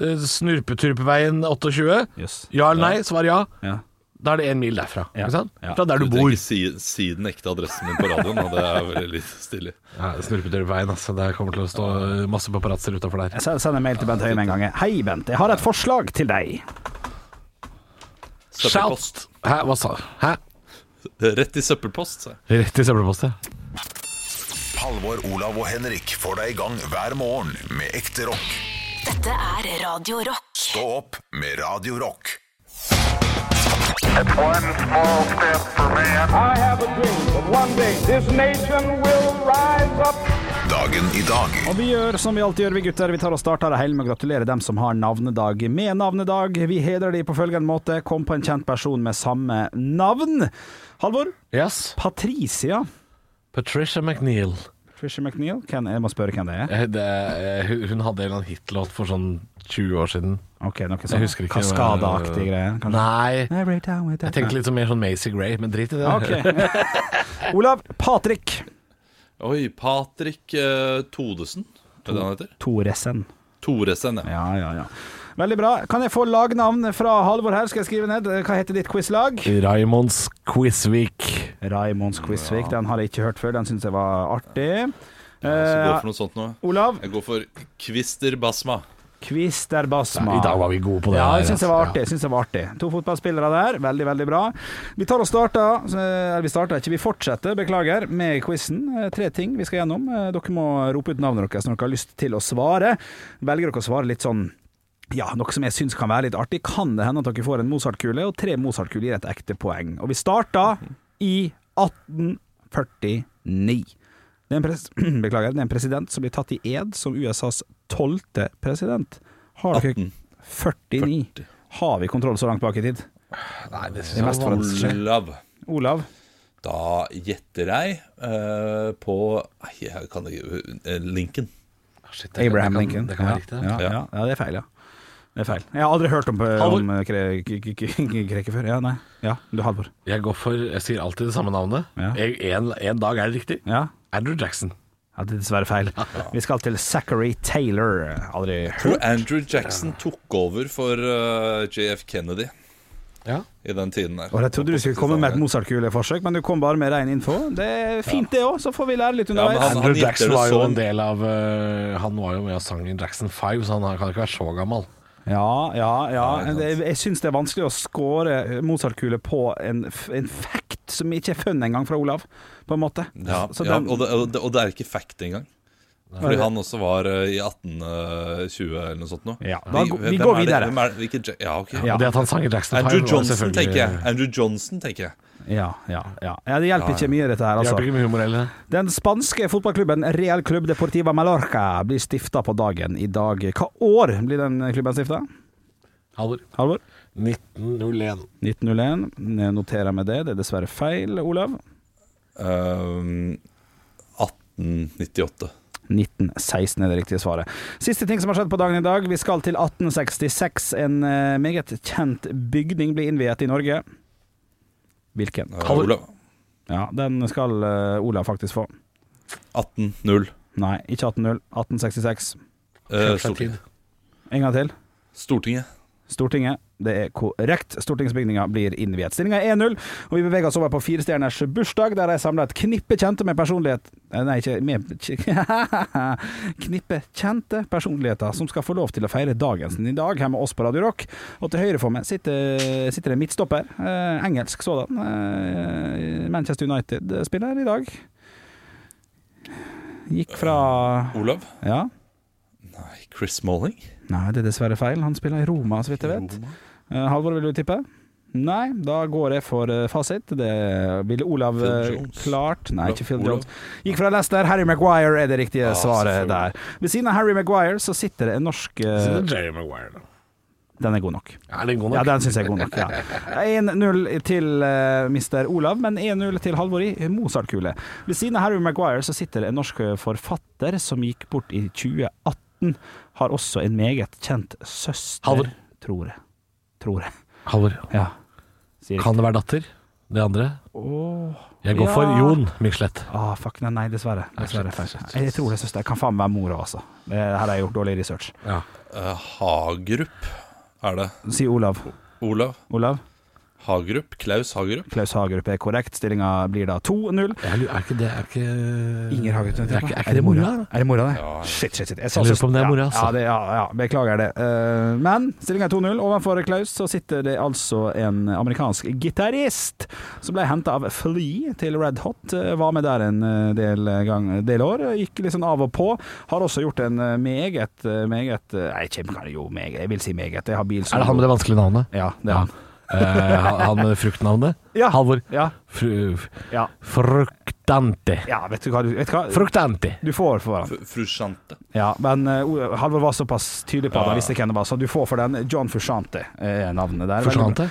D: eh, Snurpeturpeveien 28.
F: Yes.
D: Ja eller nei? Svar ja.
F: ja.
D: Da er det én mil derfra.
F: Ja.
D: Ikke sant?
F: Ja.
D: Fra der
E: Du
D: du
E: trenger
D: bor.
E: ikke si, si den ekte adressen din på radioen, og det er veldig litt stilig.
D: Ja, Snurpeturpeveien, altså. Det kommer til å stå eh, masse paparazzoer utafor der.
F: Jeg sender- sender en mail til Bent Høie med en gang. jeg. Hei, Bent. Jeg har et forslag til deg.
E: Søppelpost.
D: Hæ, hva sa Hæ?
E: Rett i søppelpost, sa jeg.
D: Rett i søppelpostet.
A: Halvor, Olav og Henrik får deg i gang hver morgen med ekte rock.
B: Dette er Radio Rock.
A: Stå opp med Radio Rock.
G: One small step for man.
H: I have a dream that one day this nation will rise up.
A: Dagen i dag
F: Og vi gjør som vi alltid gjør, vi gutter. Vi tar og starter det hele med å gratulere dem som har navnedag med navnedag. Vi hedrer de på følgende måte. Kom på en kjent person med samme navn. Halvor.
D: Yes.
F: Patricia.
D: Patricia McNeil.
F: Trisha McNeil. Hvem, jeg må spørre hvem det er.
D: Eh, Det, eh, hun hun hadde en eller annen hitlåt for sånn 20 år siden.
F: Ok, noe
D: Jeg
F: sånn
D: husker ikke. eh,
F: Kaskadeaktig greie, kanskje.
D: Nei.
F: Every time we talk-
D: Jeg tenkte litt sånn mer sånn Macy Gray, men drit i det.
F: Ja, Ok. Olav Patrick
E: Oi, Patrick eh, Todesen. Er det han heter?
F: Thoresen.
E: Toresen, ja.
F: Ja, ja, ja. Veldig bra. Kan jeg få lagnavn fra Halvor her? Skal jeg skrive ned? Hva heter ditt quizlag?
D: Raymonds Quizvik.
F: Raimonds Quizvik. Den har jeg ikke hørt før. Den syns jeg var artig.
E: Så gå
F: Eh,
E: for noe sånt nå.
F: Olav
E: Jeg går for Kvister Basma.
F: Kvister Basma.
D: I dag var vi gode på det.
F: Ja,
D: her,
F: jeg syns
D: altså.
F: det var
D: Ja.
F: artig. jeg Synes det var artig To fotballspillere der. Veldig, veldig bra. Vi tar og starter eh, Eller vi starter ikke, vi fortsetter, beklager, med quizen. Eh, Tre ting vi skal gjennom. Eh, Dere må rope ut navnet deres når dere har lyst til å svare. Velger dere å svare litt sånn ja, noe som jeg syns kan være litt artig, kan det hende at dere får en Mozart-kule, og tre Mozart-kuler gir et ekte poeng. Og vi starter i 1849. Det er, en pres Beklager, det er en president som blir tatt i ed som USAs tolvte president. Har dere 49. Har vi kontroll så langt bak i tid?
D: Nei, det
F: Det er
D: synes
F: mest
D: jeg var
F: forhåndsslig.
E: Olav.
F: Olav?
E: Da gjetter jeg eh, på Nei, jeg kan ikke eh, Lincoln.
D: Ah, Shit, det kan-
F: Abraham
D: det kan-
F: Lincoln.
D: Det kan være riktig.
F: ja,
D: det.
F: ja, ja. ja, det er feil, ja. Det er feil. Jeg har aldri hørt om, eh,
D: Halvor.
F: om kre- k- k- k- Kreke før. Ja, nei. Ja, du Halvor.
D: Jeg går for Jeg sier alltid det samme navnet.
F: Ja.
D: Jeg, en, en dag er det riktig.
F: Ja.
D: Andrew Jackson.
F: ja, det er dessverre feil. Vi skal til Zachary Taylor. Aldri
E: Tror
F: hørt.
E: Andrew Jackson tok over for eh, JF Kennedy
D: Ja.
E: i den tiden der.
F: Og jeg trodde du skulle komme med et Mozart-kuleforsøk, men du kom bare med ren info. Det er fint, det òg, så får vi lære litt
E: men
F: underveis.
E: han-
D: Andrew
E: gifter
D: Jackson
E: det
D: var jo
E: sånn.
D: en del av eh, Han var jo med og sang i Jackson 5, så han kan ikke være så gammel.
F: Ja, ja, ja.
E: ikke sant.
F: Jeg, jeg syns det er vanskelig å score Mozart-kule på en, f- en fact som ikke er fun engang fra Olav, på en måte.
E: Ja,
F: Så
E: ja
F: den-
E: og, det, og, det, og det er ikke fact engang. Fordi han også var eh, i 1820 eller noe sånt noe.
F: Ja,
E: Vi-
F: da gå- vi
E: hvem
F: går
E: er det-
F: videre.
E: Hvem er det? Hvilken Ja- ja, ok.
F: Ja.
D: Og det at han sang i Jackson 5
E: Andrew
D: var
E: Johnson,
D: selvfølgelig-
E: tenker jeg. Andrew Johnson, tenker jeg.
F: Ja, ja, ja. ja det hjelper ikke mye, dette her,
D: Hjelper
F: altså.
D: ikke med humor heller.
F: Den spanske fotballklubben Real Club Deportiva Mallorca blir stifta på dagen i dag. Hva år blir den klubben stifta?
D: Halvor.
F: Halvor?
D: 1901.
E: Eh,
F: 1901. Jeg noterer meg det. Det er dessverre feil, Olav.
E: Ehm, 1898.
F: 1916 er det riktige svaret. Siste ting som har skjedd på dagen i dag. Vi skal til 1866. En eh, meget kjent bygning blir innviet i Norge. Hvilken?
E: Eh,
D: Halvor.
E: Olav.
F: Ja, den skal eh, Olav faktisk få.
E: 18-0.
F: Nei, ikke 1800. 1866.
D: Kjøpt
E: Eh,
D: seg tid.
E: Stortinget.
F: En gang til.
E: Stortinget.
F: Stortinget. Det er korrekt. Stortingsbygninga blir innviet. Stillinga er 1-0, og vi beveger oss over på firestjerners bursdag, der de samla et knippe kjente med personlighet eh, Nei, ikke med Knippe kjente personligheter som skal få lov til å feire dagen sin i dag her med oss på Radio Rock. Og til høyre for meg sitter, sitter det en midtstopper, eh, engelsk sådan. Eh, Manchester United-spiller i dag. Gikk fra
E: Olav?
F: Ja.
E: Nei, Chris Malling?
F: Nei, det er dessverre feil. Han spiller i Roma, så vidt jeg vet. Eh, Halvor, vil du tippe? Nei, da går jeg for eh, fasit. Det ville Olav
E: Phil
F: eh,
E: Jones.
F: klart. Nei,
E: Olav-
F: ikke Phil
E: Olav.
F: Jones. Gikk fra Leicester. Harry Maguire er det riktige
E: Ja,
F: svaret
E: selvfølgelig.
F: der. Ved siden av Harry Maguire så sitter det en norsk eh,
D: Så det er Jerry Maguire, da.
F: Den er god nok.
D: Er den god nok?
F: Ja, den syns jeg er god nok. Ja. 1-0 til eh, Mr. Olav, men 1-0 til Halvor i Mozart-kule. Ved siden av Harry Maguire så sitter det en norsk forfatter som gikk bort i 2018. Har også en meget kjent søster.
D: Halvor.
F: Tror jeg. Tror jeg.
D: Halvor.
F: Ja. Sier
D: Kan det være datter? Det andre?
F: Åh.
D: Jeg går for
F: Ja.
D: Jon Michelet.
F: Ah, fuck, nei, nei dessverre. dessverre.
D: shit, shit, shit.
F: Jeg tror det er søster. Jeg kan faen meg være mora, altså. Det her har jeg gjort dårlig research.
D: Ja.
E: Eh, Hagerup er det.
F: Si Olav.
E: Olav?
F: Olav?
E: Hagerup? Klaus Hagerup?
F: Klaus Hagerup er korrekt. Stillinga blir da
D: Jeg
F: 2-0.
D: lurer, er ikke det er ikke
F: Inger Hagerup.
D: Er ikke, er ikke det mora? da?
F: Er det mora, det?
E: Ja.
F: Shit, shit, shit.
D: Jeg lurer på om det er mora,
F: ja,
D: altså.
F: ja, det, ja, ja, beklager det. Eh, men stillinga er 2-0. Ovenfor Klaus så sitter det altså en amerikansk gitarist som ble henta av Flea til Red Hot. Eh, Var med der en eh, del, gang, del år. Gikk litt sånn av og på. Har også gjort en eh, meget, eh, meget eh, Nei, kjempe, jo, meget, jeg vil si meget. Jeg har bil som
D: Er det han med det vanskelige navnet?
F: Ja, det er han.
D: Eh, han- han med fruktnavnet?
F: Ja.
D: Halvor.
F: Ja,
D: Fru,
F: ja,
D: fruktante.
F: ja vet du hva du vet du hva?
D: Fruktante.
F: Du får for hverandre.
E: Fru- Fru Chante.
F: Ja, men eh, O- Halvor var såpass tydelig på at han visste hvem det var, så du får for den John Fushante, er navnet der.
D: Fruktante?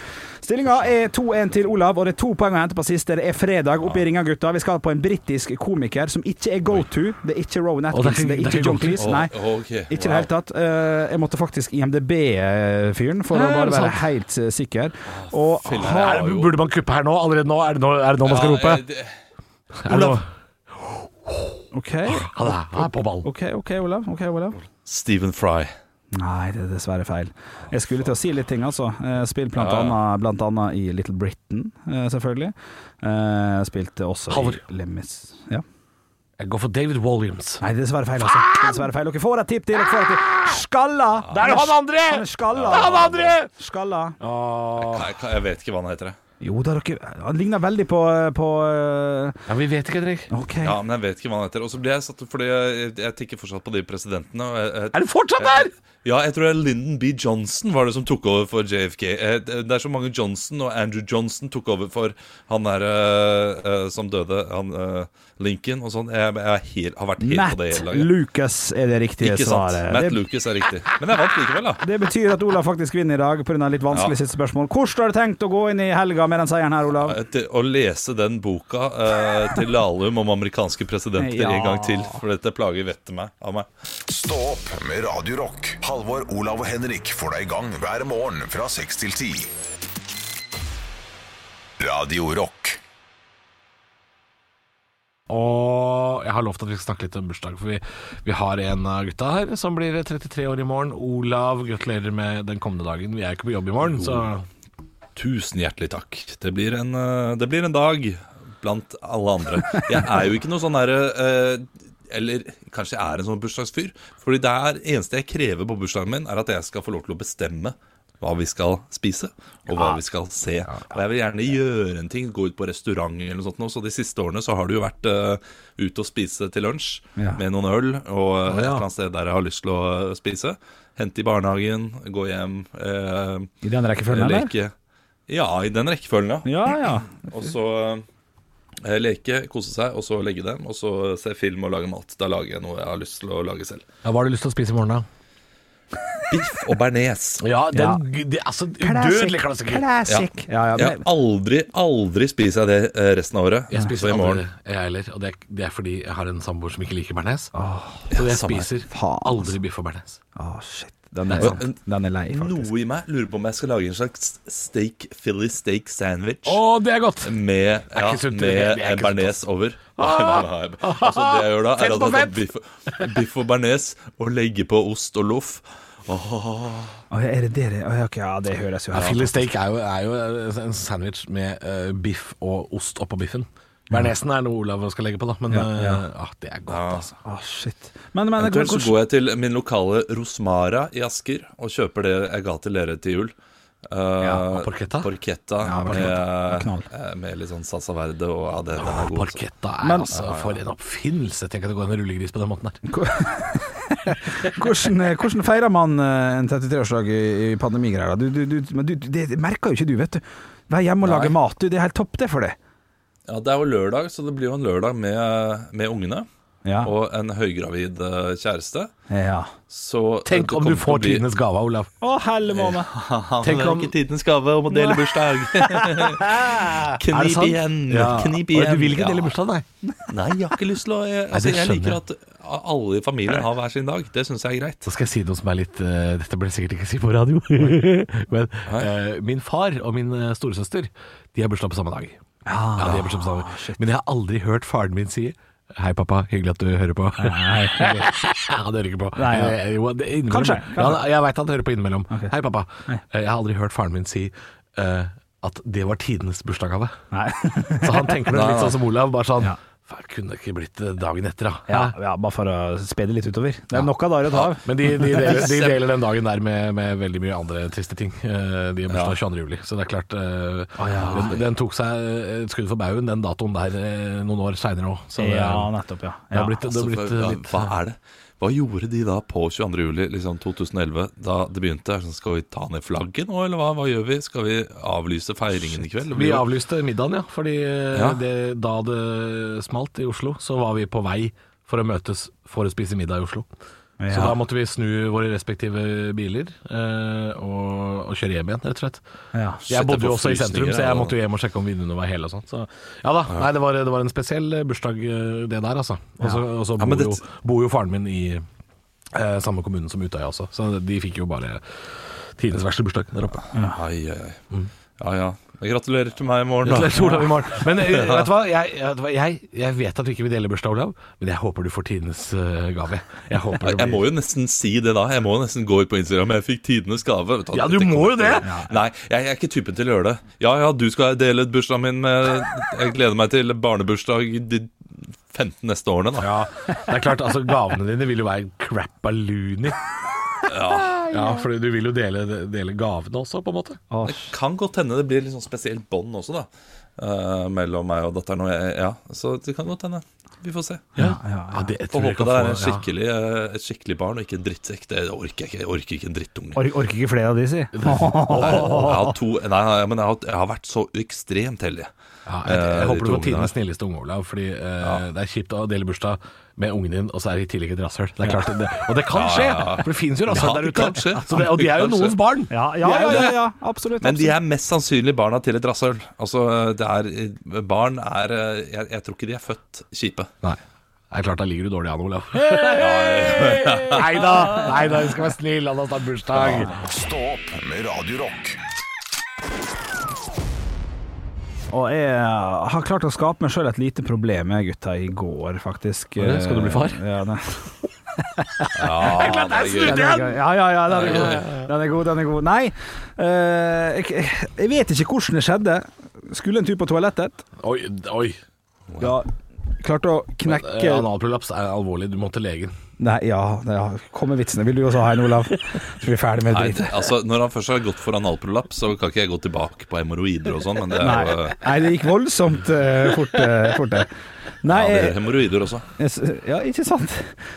F: Stillinga er 2-1 til Olav, og det er to poeng å hente på siste. Det er fredag oppe i ringa, gutta. Vi skal på en britisk komiker som ikke er go to. Det er ikke Rowan
D: Og det er
F: Atkinson,
D: ikke-
F: det er
D: det er
F: ikke
D: ikke
F: John
D: go-to.
F: Cleese. Nei.
E: Å, ok.
F: Ikke i det hele tatt. Eh, Jeg måtte faktisk IMDb-fyren for å
D: Nei, er
F: bare
D: det
F: være
D: sant?
F: helt eh, sikker. Og
E: Fille,
F: ha-
E: er
D: Er, det- burde man kuppe her nå? Allerede nå? Er det nå, er det nå man skal
E: Ja,
D: rope?
E: eh, det-
D: Er det nå?
F: OK,
D: Han er, han er på ball.
F: OK, ok, Olav. ok, Olav.
E: Stephen Fry.
F: Nei, det er dessverre feil. Jeg skulle til å si litt ting, altså. Eh, Spilt blant,
E: Ja, ja.
F: annet, blant annet i Little Britain, eh, selvfølgelig. Eh, Spilte også
D: Halvor.
F: i Lemmis. Ja.
D: Jeg går for David Williams.
F: Nei, det er dessverre feil, altså. Det er Dessverre feil. Dere får et tipp til. Dere får et tipp. Skalla!
D: Der er han andre!
F: Han er skalla.
D: Han andre!
F: Skalla.
E: Nei, Jeg, kan- jeg vet ikke hva han heter. jeg.
F: Jo da, dere Han ligner veldig på, på eh,
D: Ja, vi vet ikke, Henrik.
F: OK.
E: Ja, men jeg vet ikke hva han heter. Og så blir jeg satt Fordi jeg, jeg tikker fortsatt på de presidentene. Og jeg, jeg,
D: Er det fortsatt
F: Eh,
D: der?
E: Ja, jeg tror det er Lyndon B. Johnson var det som tok over for JFK. Eh, Det er så mange Johnson, og Andrew Johnson tok over for han der eh, eh, som døde, han eh, Lincoln og sånn. Jeg, jeg er helt, har vært helt på det
F: Matt
E: hele dagen.
F: Lucas er det riktige
E: Ikke sant?
F: svaret.
E: Matt
F: Det-
E: Lucas er riktig. Men jeg vant likevel, da.
F: Det betyr at Olav faktisk vinner i dag pga. litt vanskelig
E: Ja.
F: siste spørsmål. Hvordan har du tenkt å gå inn i helga med den seieren her, Olav?
E: Eh, til Å lese den boka eh, til Lahlum om amerikanske presidenter
F: Ja.
E: en gang til, for dette plager vettet meg av meg.
A: Stå opp med Radio Rock. Halvor, Olav og Henrik får deg i gang hver morgen fra 6 til 10. Radio Rock.
D: Og jeg har lovt at vi skal snakke litt om bursdag, for vi, vi har en av gutta her som blir 33 år i morgen. Olav, gratulerer med den kommende dagen. Vi er ikke på jobb i morgen, så
E: Tusen hjertelig takk. Det blir en, eh, det blir en dag blant alle andre. Jeg er jo ikke noe sånn derre Eller kanskje jeg er en sånn bursdagsfyr. Fordi det er, eneste jeg krever på bursdagen min, er at jeg skal få lov til å bestemme hva hva vi skal spise, og hva vi skal se. Og jeg vil gjerne gjøre en ting, gå ut på restaurant eller noe sånt. nå. Så de siste årene så har det jo vært eh, ute og spise til lunsj
F: Ja.
E: med noen øl og et eller annet sted der jeg har lyst til å eh, spise. Hente i barnehagen, gå hjem, eh,
F: I den rekkefølgen, eller?
E: leke. Ja, i den rekkefølgen, ja.
F: Ja, ja.
E: Og så eh, leke, kose seg, og så legge dem, og så se film og lage mat. Da lager jeg noe jeg har lyst til å lage selv.
I: Ja, hva har du lyst til å spise i morgen, da?
E: Biff og bearnés.
I: Ja, den,
F: Ja.
I: Det, altså, udødelig klassiker.
F: Classic. Ja, ja,
E: Ja,
F: men,
E: aldri, aldri spiser jeg det eh, resten av året.
D: Jeg spiser
E: Så i morgen.
D: aldri jeg heller, og det er, det er fordi jeg har en samboer som ikke liker bearnés. så jeg
E: samme her.
D: spiser
F: Faen,
D: aldri biff og bearnés.
F: Å, shit. Altså, Den er,
E: Ja,
F: sant. den er lei, faktisk.
E: Noe i meg lurer på om jeg skal lage en slags steak, Philly steak sandwich.
D: Å, det er godt!
E: Med, ja,
D: ikke sunt, det er- det er
E: med
D: ikke
E: bearnés over. Nei, nei, nei. Altså, det jeg gjør da,
D: Fett på
E: er at jeg tar biff, biff og bearnés og legger på ost og loff.
F: Å, ja, er det det det Å, ja, ok, ja, det høres jo
D: Ja,
F: her
D: Philly steak er jo, er jo en sandwich med eh, biff og ost oppå biffen. Bearnésen er noe Olav skal legge på, da, men
F: Ja, ja.
D: eh, ah, det er godt, altså.
F: Å, shit. Men, men
E: Eventuelt så går jeg til min lokale Rosmara i Asker og kjøper det jeg ga til dere til jul. Eh,
D: Ja, og porchetta.
E: Porchetta
F: Ja, porchetta.
E: med,
F: Knall.
E: eh, med litt sånn salsa verde og ja, det, den
D: Ah,
E: er god. altså.
D: Parketta er
F: Men-
D: altså for en oppfinnelse. Tenk at det går en rullegris på den måten der.
F: hvordan, hvordan feirer man eh, en 33-årsdag i, i pandemigreier? da? Du, du, du, men du, det merker jo ikke du, vet du. Vær hjemme og
E: Nei.
F: lage mat, du. Det er helt topp, det, for det.
E: Ja, det er jo lørdag, så det blir jo en lørdag med, med ungene
F: Ja.
E: og en høygravid eh, kjæreste.
F: ja.
E: Så eh,
D: Tenk om du får tidenes gave, Olav.
F: Å, helle måne.
E: Tenk
D: det er
E: om
D: ikke
E: tidenes gave om å dele bursdag.
D: Er det
E: knip
D: sant?
E: igjen,
D: Ja.
E: knip
D: Og
E: igjen.
D: Du vil ikke dele bursdag, nei?
E: Nei, jeg har ikke lyst til å Jeg,
D: Nei,
E: altså,
D: det
E: jeg liker at
D: skjønner
E: alle i familien har hver sin dag. Det syns jeg er greit.
D: Så skal jeg si noe som er litt eh, Dette blir jeg sikkert ikke si på radio. Men eh, min far og min eh, storesøster De har bursdag på samme dag. Ja, de har bursdag på samme dag. Men jeg har aldri hørt faren min si Hei, pappa. Hyggelig at du hører på. Nei, han hører ikke på.
F: Nei, ja.
D: Eh, jo, det er innimellom.
F: Kanskje,
D: Ja, han- jeg veit han hører på innimellom. Hei, pappa. Eh, Jeg har aldri hørt faren min si eh, at det var tidenes bursdagsgave.
F: Nei.
D: Så han tenker nok litt
E: Nei, nei.
D: sånn som Olav. Bare sånn
F: Ja.
D: Faen, kunne det ikke blitt eh, dagen etter, da?
F: Ja, ja, bare for å spe det litt utover. Det er nok av dager å ta av.
D: Men de, de, deler, de deler den dagen der med, med veldig mye andre triste ting. Eh, De har bursdag 22. juli, så det er klart eh, den, den tok seg et skudd for baugen, den datoen der, eh, noen år seinere òg. Så det,
F: Ja,
D: er-
F: nettopp, ja.
D: det
F: ja.
D: har blitt, det
E: Altså,
D: har blitt eh,
E: for- ja,
D: litt
E: hva er det? Hva gjorde de da på 22. juli liksom 2011, da det begynte? Er det sånn, Skal vi ta ned flagget nå, eller hva? Hva gjør vi? Skal vi avlyse feiringen i kveld? Det blir
D: Vi
E: jo-
D: avlyste middagen, ja. Fordi eh,
E: Ja.
D: Det, da det smalt i Oslo, så var vi på vei for å møtes for å spise middag i Oslo. Så da måtte vi snu våre respektive biler eh, og, og kjøre hjem igjen, rett og slett.
F: Ja.
D: Jeg bodde jo
E: på
D: også i sentrum,
E: frysninger,
D: så jeg
E: ja.
D: måtte jo hjem og sjekke om vinduene var hele og sånn. Så ja da, nei, det var, det var en spesiell eh, bursdag eh, det der, altså. Og så- Og så
E: Ja,
D: bor,
E: men det-
D: jo- bor jo faren min i eh, samme kommune som Utøya også, så de fikk jo bare tidenes verste bursdag der oppe.
E: Ai, ai, ai. Ja, ja. Men Gratulerer til meg i morgen, da.
D: Mm. Gratulerer til Olav i morgen. Men eh, vet du hva, jeg, vet du hva? Jeg, jeg vet at du ikke vil dele bursdag, Olav, men jeg håper du får tidenes eh, gave. Jeg håper
E: Jeg
D: det
E: jeg må
D: blir
E: jo nesten si det da. Jeg må jo nesten gå ut på Instagram. Jeg fikk tidenes gave. Vet
D: Ja,
E: dette
D: du må
E: kommer
D: jo det.
E: til å- Nei, jeg, jeg er ikke typen til å gjøre det. Ja ja, du skal dele ut bursdagen min med Jeg gleder meg til barnebursdag de 15 neste årene, da.
D: ja, det er klart, altså Gavene dine vil jo være crapaloony. Ja, ja, for du vil jo dele, dele gavene også, på en måte.
F: Å,
E: Det kan godt hende det blir litt sånn spesielt bånd også, da. eh, mellom meg og datteren og jeg. Ja, så det kan godt hende. Vi får se.
D: Ja,
F: ja, ja.
D: det jeg
E: Får
D: tror jeg
E: håpe
D: kan
E: det er
D: få-
E: en skikkelig, eh, et skikkelig barn og ikke en drittsekk. Det orker jeg ikke. Jeg orker ikke en drittunge.
F: Ork, orker ikke flere av de, si.
E: Nei, jeg har to, nei, nei, men jeg har, jeg har vært så ekstremt heldig.
D: Ja, jeg, jeg,
E: Eh, de
D: håper du
E: to
D: får
E: ungene her.
D: tidenes snilleste unge, Olav. Fordi eh, det er kjipt å dele bursdag med ungen din, og så er det i tillegg et rasshøl. Det er klart, det, og det kan skje!
E: ja.
D: For det finnes jo rasshøl
E: Ja,
D: der
E: det
D: ute.
E: kan skje.
D: Så det, og de er jo
E: Det kan
D: noens
E: skje.
D: barn.
F: Ja, ja,
D: De er
F: ja,
D: jo
F: ja,
D: det.
F: ja absolutt.
E: Men de
F: absolutt.
E: er mest sannsynlig barna til et rasshøl. Altså, det er, barn er eh, jeg, jeg tror ikke de er født kjipe.
D: Nei. Det er klart, da ligger du dårlig an, Olav. Nei da, nei da, vi skal være snille, han har snart bursdag.
A: Stå opp med Radio Rock.
F: Og jeg har klart å skape meg sjøl et lite problem med gutta i går, faktisk.
D: det? Skal du bli far?
F: Ja, nei.
E: Ja, det er gøy.
F: Den er gøy. ja, ja, ja, den er god. Den er god, den er god. Nei, eh, jeg, jeg vet ikke hvordan det skjedde. Skulle en tur på toalettet.
D: Oi, oi.
F: Ja, klarte å
D: Eh,
F: knekke
D: Analprolaps er alvorlig, du må til legen.
F: Nei, ja, ja. Kom med vitsene. Vil du også ha en, Olav? Så vi er ferdig med
E: Nei,
F: dritet.
E: altså Når han først har gått for analprolaps, så kan ikke jeg gå tilbake på hemoroider og sånn. Men det er jo
F: Nei.
E: eh,
F: Nei, det gikk voldsomt eh, fort, eh, fort, det. Nei, eh,
E: ja, det
F: jeg-
E: er hemoroider også.
F: Jeg s- Ja, ikke sant?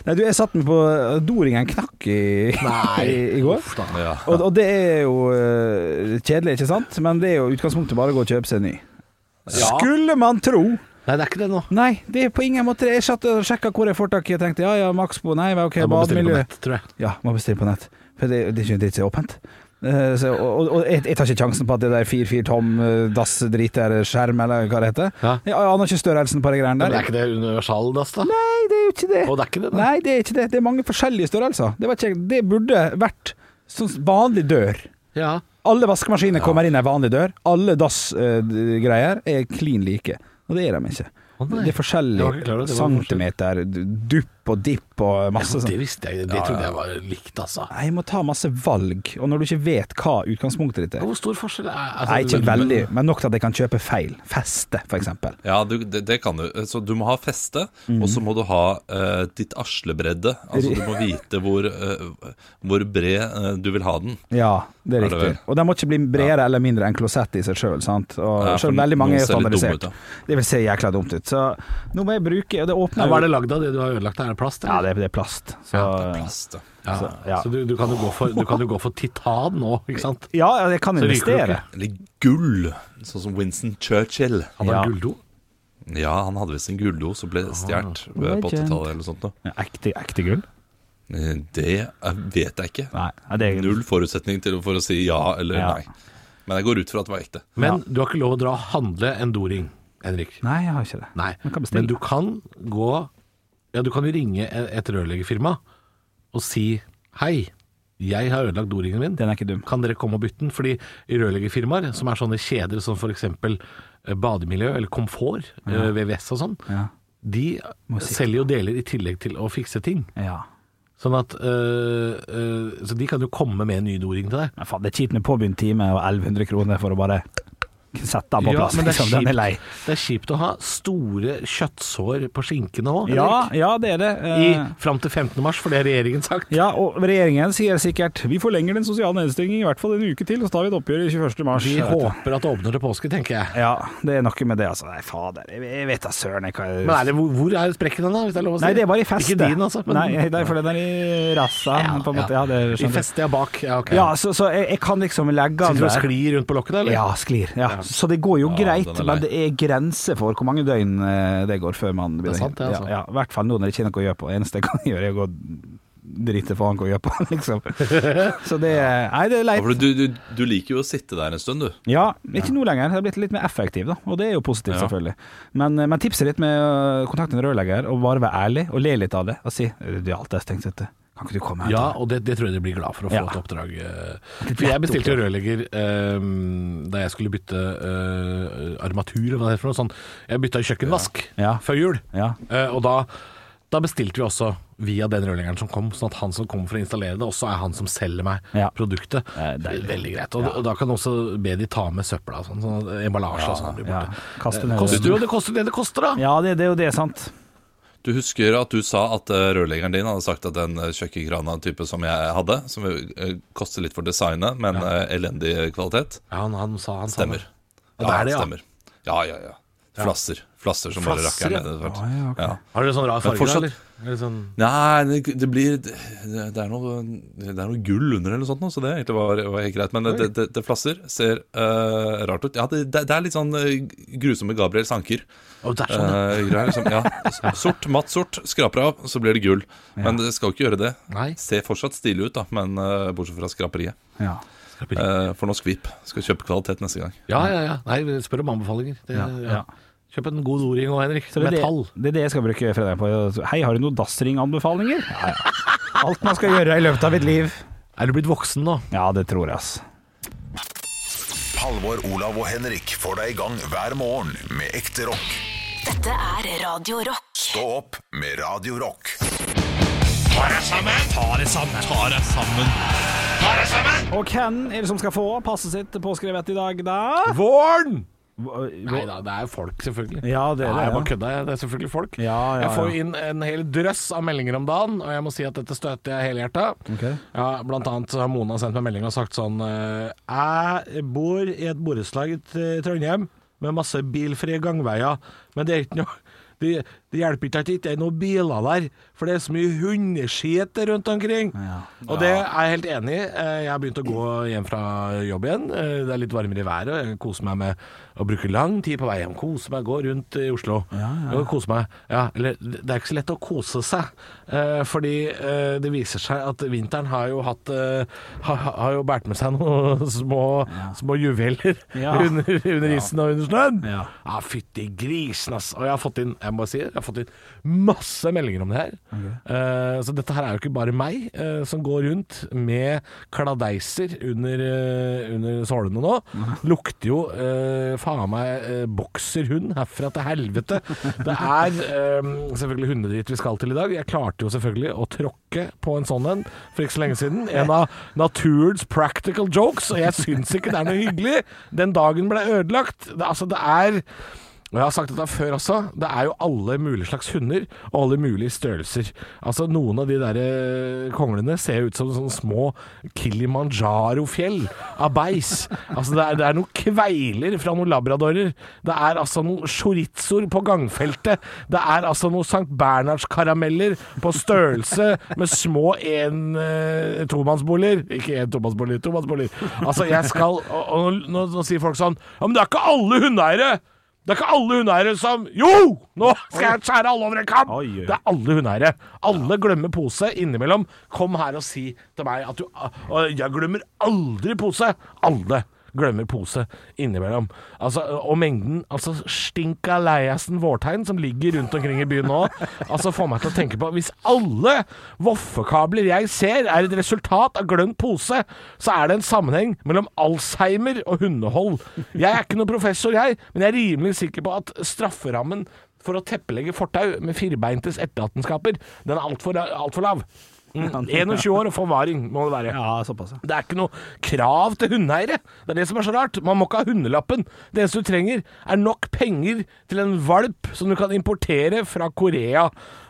F: Nei, du, jeg satt meg på doringen knakk i, i, i går.
E: Ja.
F: Og, og det er jo eh, kjedelig, ikke sant? Men det er jo i utgangspunktet bare å gå og kjøpe seg en ny. Skulle man tro!
D: Nei, det er ikke det nå.
F: Nei, det er på ingen måte det. Jeg satt og sjekka hvor jeg får tak i, og tenkte ja ja, Maxbo, nei, men ok,
D: Jeg må bestille på
F: bademiljø.
D: nett, tror jeg.
F: Ja, må bestille på nett. For det, det er ikke en dritt som er åpent. Eh, så, og og, og jeg, jeg tar ikke sjansen på at det der 4-4 tom eh, dass-drit der, skjerm eller hva det heter.
D: Ja.
F: Jeg aner ikke størrelsen på de greiene
D: Men
F: der.
D: det er ikke det universaldass, da?
F: Nei, det er jo ikke det.
D: Å, det er ikke det, nei.
F: Nei, det er ikke det. Det er mange forskjellige størrelser. Det, var ikke, det burde vært sånn vanlig dør.
D: Ja.
F: Alle vaskemaskiner kommer inn i en vanlig dør. Alle dassgreier er klin like. Og det er de ikke.
D: nei.
F: det er
D: Jeg
F: forskjellige
D: var ikke klar over det. Det var
F: centimeter, dupp og dipp og masse
D: Det
F: sånn.
D: visste jeg, det trodde jeg var likt, altså.
F: Nei, jeg må ta masse valg, og når du ikke vet hva utgangspunktet ditt er
D: Hvor stor forskjell er altså,
F: Nei, ikke veldig, men nok til at jeg kan kjøpe feil. Feste, for eksempel.
E: Ja, du, det, det kan du. Så du må ha feste,
F: Mhm.
E: og så må du ha eh, ditt aslebredde. Altså du må vite hvor, eh, hvor bred eh, du vil ha den.
F: Ja, det er
E: Er det
F: riktig.
E: vel?
F: Og de må ikke bli bredere eller mindre enn klosett i seg sjøl, sant. Og
E: Ja, for
F: selv om veldig mange er
E: noen ser litt dumme ut,
F: standardisert.
E: da.
F: det vil se jækla dumt ut. Så nå må jeg bruke og Det
D: Ja,
F: åpner
D: hva er
F: jo
D: det lagd av, det du har ødelagt? Er det plast?
F: Ja,
D: eller?
F: det er, det er plast. Så,
D: Ja,
E: Feste.
D: Ja.
F: så, ja.
D: Så du, du, kan jo gå for, du kan jo gå for titan nå, ikke sant?
F: ja, ja, jeg kan
D: Så ryker du
F: investere.
E: Eller gull, sånn som Winston Churchill.
D: Han har
F: Ja.
D: gulldo.
E: Ja, han hadde visst en gulldo som
F: Ah,
E: ble stjålet eh, på
F: Legend.
E: 80-tallet eller sånt noe.
F: Ja, Ekte, ekte gull?
E: Eh, Det eh, vet jeg ikke.
F: Nei, ja, det er
E: Null forutsetning til, for å si ja eller
F: Ja.
E: nei. Men jeg går ut fra at det var ekte.
D: Men du har ikke lov å dra og handle en doring, Henrik.
F: Nei, jeg har ikke det.
D: Nei,
F: Man kan bestille.
D: men du kan gå Ja, du kan jo ringe e- et rørleggerfirma og si Hei, jeg har ødelagt doringen min.
F: Den er ikke dum.
D: Kan dere komme og bytte den? Fordi i rørleggerfirmaer, som er sånne kjeder som f.eks. bademiljø eller komfort, eh, VVS og sånn,
F: Ja.
D: de
F: Må sikre.
D: selger jo deler i tillegg til å fikse ting.
F: ja.
D: Sånn at øh, øh, Så de kan jo komme med en ny doring til deg.
F: Men faen, det er kjipt med påbegynt time og 1100 kroner for å bare sette den på
D: Ja,
F: plass.
D: men det er,
F: liksom. Den er lei.
D: kjipt, det er kjipt å ha store kjøttsår på skinkene òg.
F: Ja, ja, det er det.
D: I,
F: Eh,
D: fram til 15. mars, for det har regjeringen sagt.
F: Ja, og regjeringen sier sikkert Vi forlenger den sosiale nedstengingen i hvert fall en uke til, og så tar vi et oppgjør i 21. mars.
D: Vi håper at det åpner til påske, tenker jeg.
F: Ja, det er noe med det, altså. Nei, fader. Jeg, jeg vet da søren jeg hva
D: Men er det, hvor- hvor er sprekken den, da? Hvis det er lov å si?
F: Nei, det er bare i festet.
D: Ikke din, altså. men-
F: Nei, nei, for den er i rassa, på en måte. Ja, det
D: I
F: skjønner du.
D: festet, ja, bak. Ja, ok.
F: Ja, så, så jeg, jeg kan liksom legge den
D: Sitter du og
F: der.
D: sklir rundt på lokket, da? eller?
F: Ja, sklir. Ja. Så det går jo
E: Ja,
F: greit,
E: den er lei.
F: men det er grenser for hvor mange døgn eh, det går før man
D: Det er sant, det, altså.
F: ja, ja, I hvert fall nå når det ikke er noe å gjøre på. Det eneste jeg kan gjøre, er å gå og drite faen hva jeg gjør på, liksom. Så det er Nei, det er
E: Ja,
F: leit.
E: for Du, du, du liker jo å sitte der en stund, du.
F: Ja, ikke nå lenger. Jeg har blitt litt mer effektiv, da. Og det er jo positivt,
E: Ja.
F: selvfølgelig. Men, eh, men tipset litt med å kontakte en rørlegger, og bare være ærlig, og le litt av det, og si Du har alt jeg har tenkt etter. Kan ikke du komme her?
D: Ja, og det, det tror jeg de blir glad for å få
F: Ja.
D: et oppdrag. eh. For jeg bestilte jo rørlegger eh, da jeg skulle bytte eh, armatur, eller hva det heter for noe sånt. Jeg bytta kjøkkenvask
F: Ja.
D: før jul,
F: Ja.
D: Eh, og da, da bestilte vi også via den rørleggeren som kom, sånn at han som kommer for å installere det, også er han som selger meg
F: Ja.
D: produktet.
F: Eh, deilig.
D: Veldig greit. Og, og da kan du også be de ta med søpla og sånn, sånn at emballasje og sånn blir
F: ja.
D: borte.
F: Kaste
D: Det
F: ned
D: koster jo det koster det det koster, da!
F: Ja, det, det er jo det, sant.
E: Du husker at du sa at eh, rørleggeren din hadde sagt at den eh, kjøkkenkrana-type som jeg hadde, som eh, koster litt for designet, men eh, elendig kvalitet,
D: Ja, han, han sa han sa
E: stemmer.
D: det. det er det, ja.
E: stemmer. Ja, ja, ja. Flasser. Flasser som bare
D: Flasser,
E: rakker
D: ja.
E: ned. etter hvert. ja.
D: Har dere sånn rar farge,
E: fortsatt-
D: eller? eller? Sånn
E: Nei, det, det blir det, det er noe, det er noe gull under eller noe sånt, nå, så det egentlig var, var helt greit. Men det, det, det flasser. Ser eh, rart ut. Ja, det, det det er litt sånn eh, grusomme Gabriel Sanker.
D: Å, det er sånn, ja.
E: Eh, greier, liksom, ja. S- Sort, matt sort. Skraper av, så blir det gull. Men det skal jo ikke gjøre det.
D: Nei.
E: Ser fortsatt stilig ut, da, men eh, bortsett fra skraperiet.
F: Ja.
E: Eh, for norsk VIP. Skal kjøpe kvalitet neste gang.
D: Ja, ja, ja. Nei, spør om anbefalinger. Det, ja,
F: ja.
D: Kjøp en god doring òg, Henrik.
F: Så det, er
D: Metall.
F: det, det er det jeg skal bruke fredagen på. Hei, har du noen dassringanbefalinger? Ja, ja. Alt man skal gjøre i løpet av et liv.
D: Er du blitt voksen nå?
F: Ja, det tror jeg, ass.
A: Halvor, Olav og Henrik får deg i gang hver morgen med ekte rock.
B: Dette er Radio Rock.
A: Stå opp med Radio Rock.
F: Og hvem er det som skal få passet sitt påskrevet i dag, da?
D: Våren! Nei da, det er folk, selvfølgelig.
F: Ja, det er
D: Nei,
F: det,
D: jeg bare
F: ja.
D: kødda. jeg. Det er selvfølgelig folk.
F: Ja, ja,
D: jeg får
F: ja.
D: jo inn en hel drøss av meldinger om dagen, og jeg må si at dette støter jeg helhjerta.
F: Ok.
D: Ja, blant annet så har Mona sendt meg melding og sagt sånn eh, Jeg bor i et borettslag i T- Trondheim med masse bilfrie gangveier, men det er ikke noe det, det hjelper ikke at det ikke er noen biler der, for det er så mye hundeskit rundt omkring.
F: Ja.
D: Og det er jeg helt enig i. Eh, Jeg har begynt å gå hjem fra jobb igjen. Eh, Det er litt varmere i været, og jeg koser meg med å bruke lang tid på vei hjem. Kose meg, gå rundt i Oslo. Og Kose meg. Ja, eller, det er ikke så lett å kose seg, eh, fordi eh, det viser seg at vinteren har jo hatt eh, har, har jo båret med seg noen små, små juveler
F: Ja.
D: under, under isen og under snøen.
F: Ja.
D: Ja, fytti grisen, ass. Og jeg har fått inn jeg må bare si, det, jeg har fått inn masse meldinger om det her. Eh, så dette her er jo ikke bare meg eh, som går rundt med kladeiser under, eh, under sålene nå. Lukter jo eh, faen meg eh, bokserhund herfra til helvete. Det er eh, selvfølgelig hundedritt vi skal til i dag. Jeg klarte jo selvfølgelig å tråkke på en sånn en for ikke så lenge siden. En av naturens practical jokes, og jeg syns ikke det er noe hyggelig. Den dagen ble ødelagt. Det, altså, det er og jeg har sagt dette før også, det er jo alle mulige slags hunder, og alle mulige størrelser. Altså, noen av de der eh, konglene ser ut som sånne små Kilimanjaro-fjell av beis. Altså, det er, det er noen kveiler fra noen labradorer. Det er altså noen chorizoer på gangfeltet. Det er altså noen Sankt Bernhardskarameller på størrelse med små en, eh, tomannsboliger. Ikke en tomannsbolig, tomannsboliger. Altså, jeg skal Og, og nå, nå sier folk sånn Ja, men det er ikke alle hundeeiere! Det er ikke alle hundeeiere som Jo! Nå skal jeg skjære alle over en kam!
F: Oi, oi.
D: Det er alle hundeeiere. Alle glemmer pose innimellom. Kom her og si til meg at du «Å, Jeg glemmer aldri pose! Alle glemmer pose innimellom. Altså, og mengden altså stinka leiasen vårtegn som ligger rundt omkring i byen nå, altså får meg til å tenke på Hvis alle voffekabler jeg ser er et resultat av glemt pose, så er det en sammenheng mellom Alzheimer og hundehold. Jeg er ikke noen professor, jeg, men jeg er rimelig sikker på at strafferammen for å teppelegge fortau med firbeintes etterlatenskaper, den er altfor alt for lav. Mm, 21 år og forvaring må det være.
F: Ja, såpass, ja.
D: Det er ikke noe krav til hundeeiere. Det er det som er så rart. Man må ikke ha hundelappen. Det eneste du trenger, er nok penger til en valp som du kan importere fra Korea.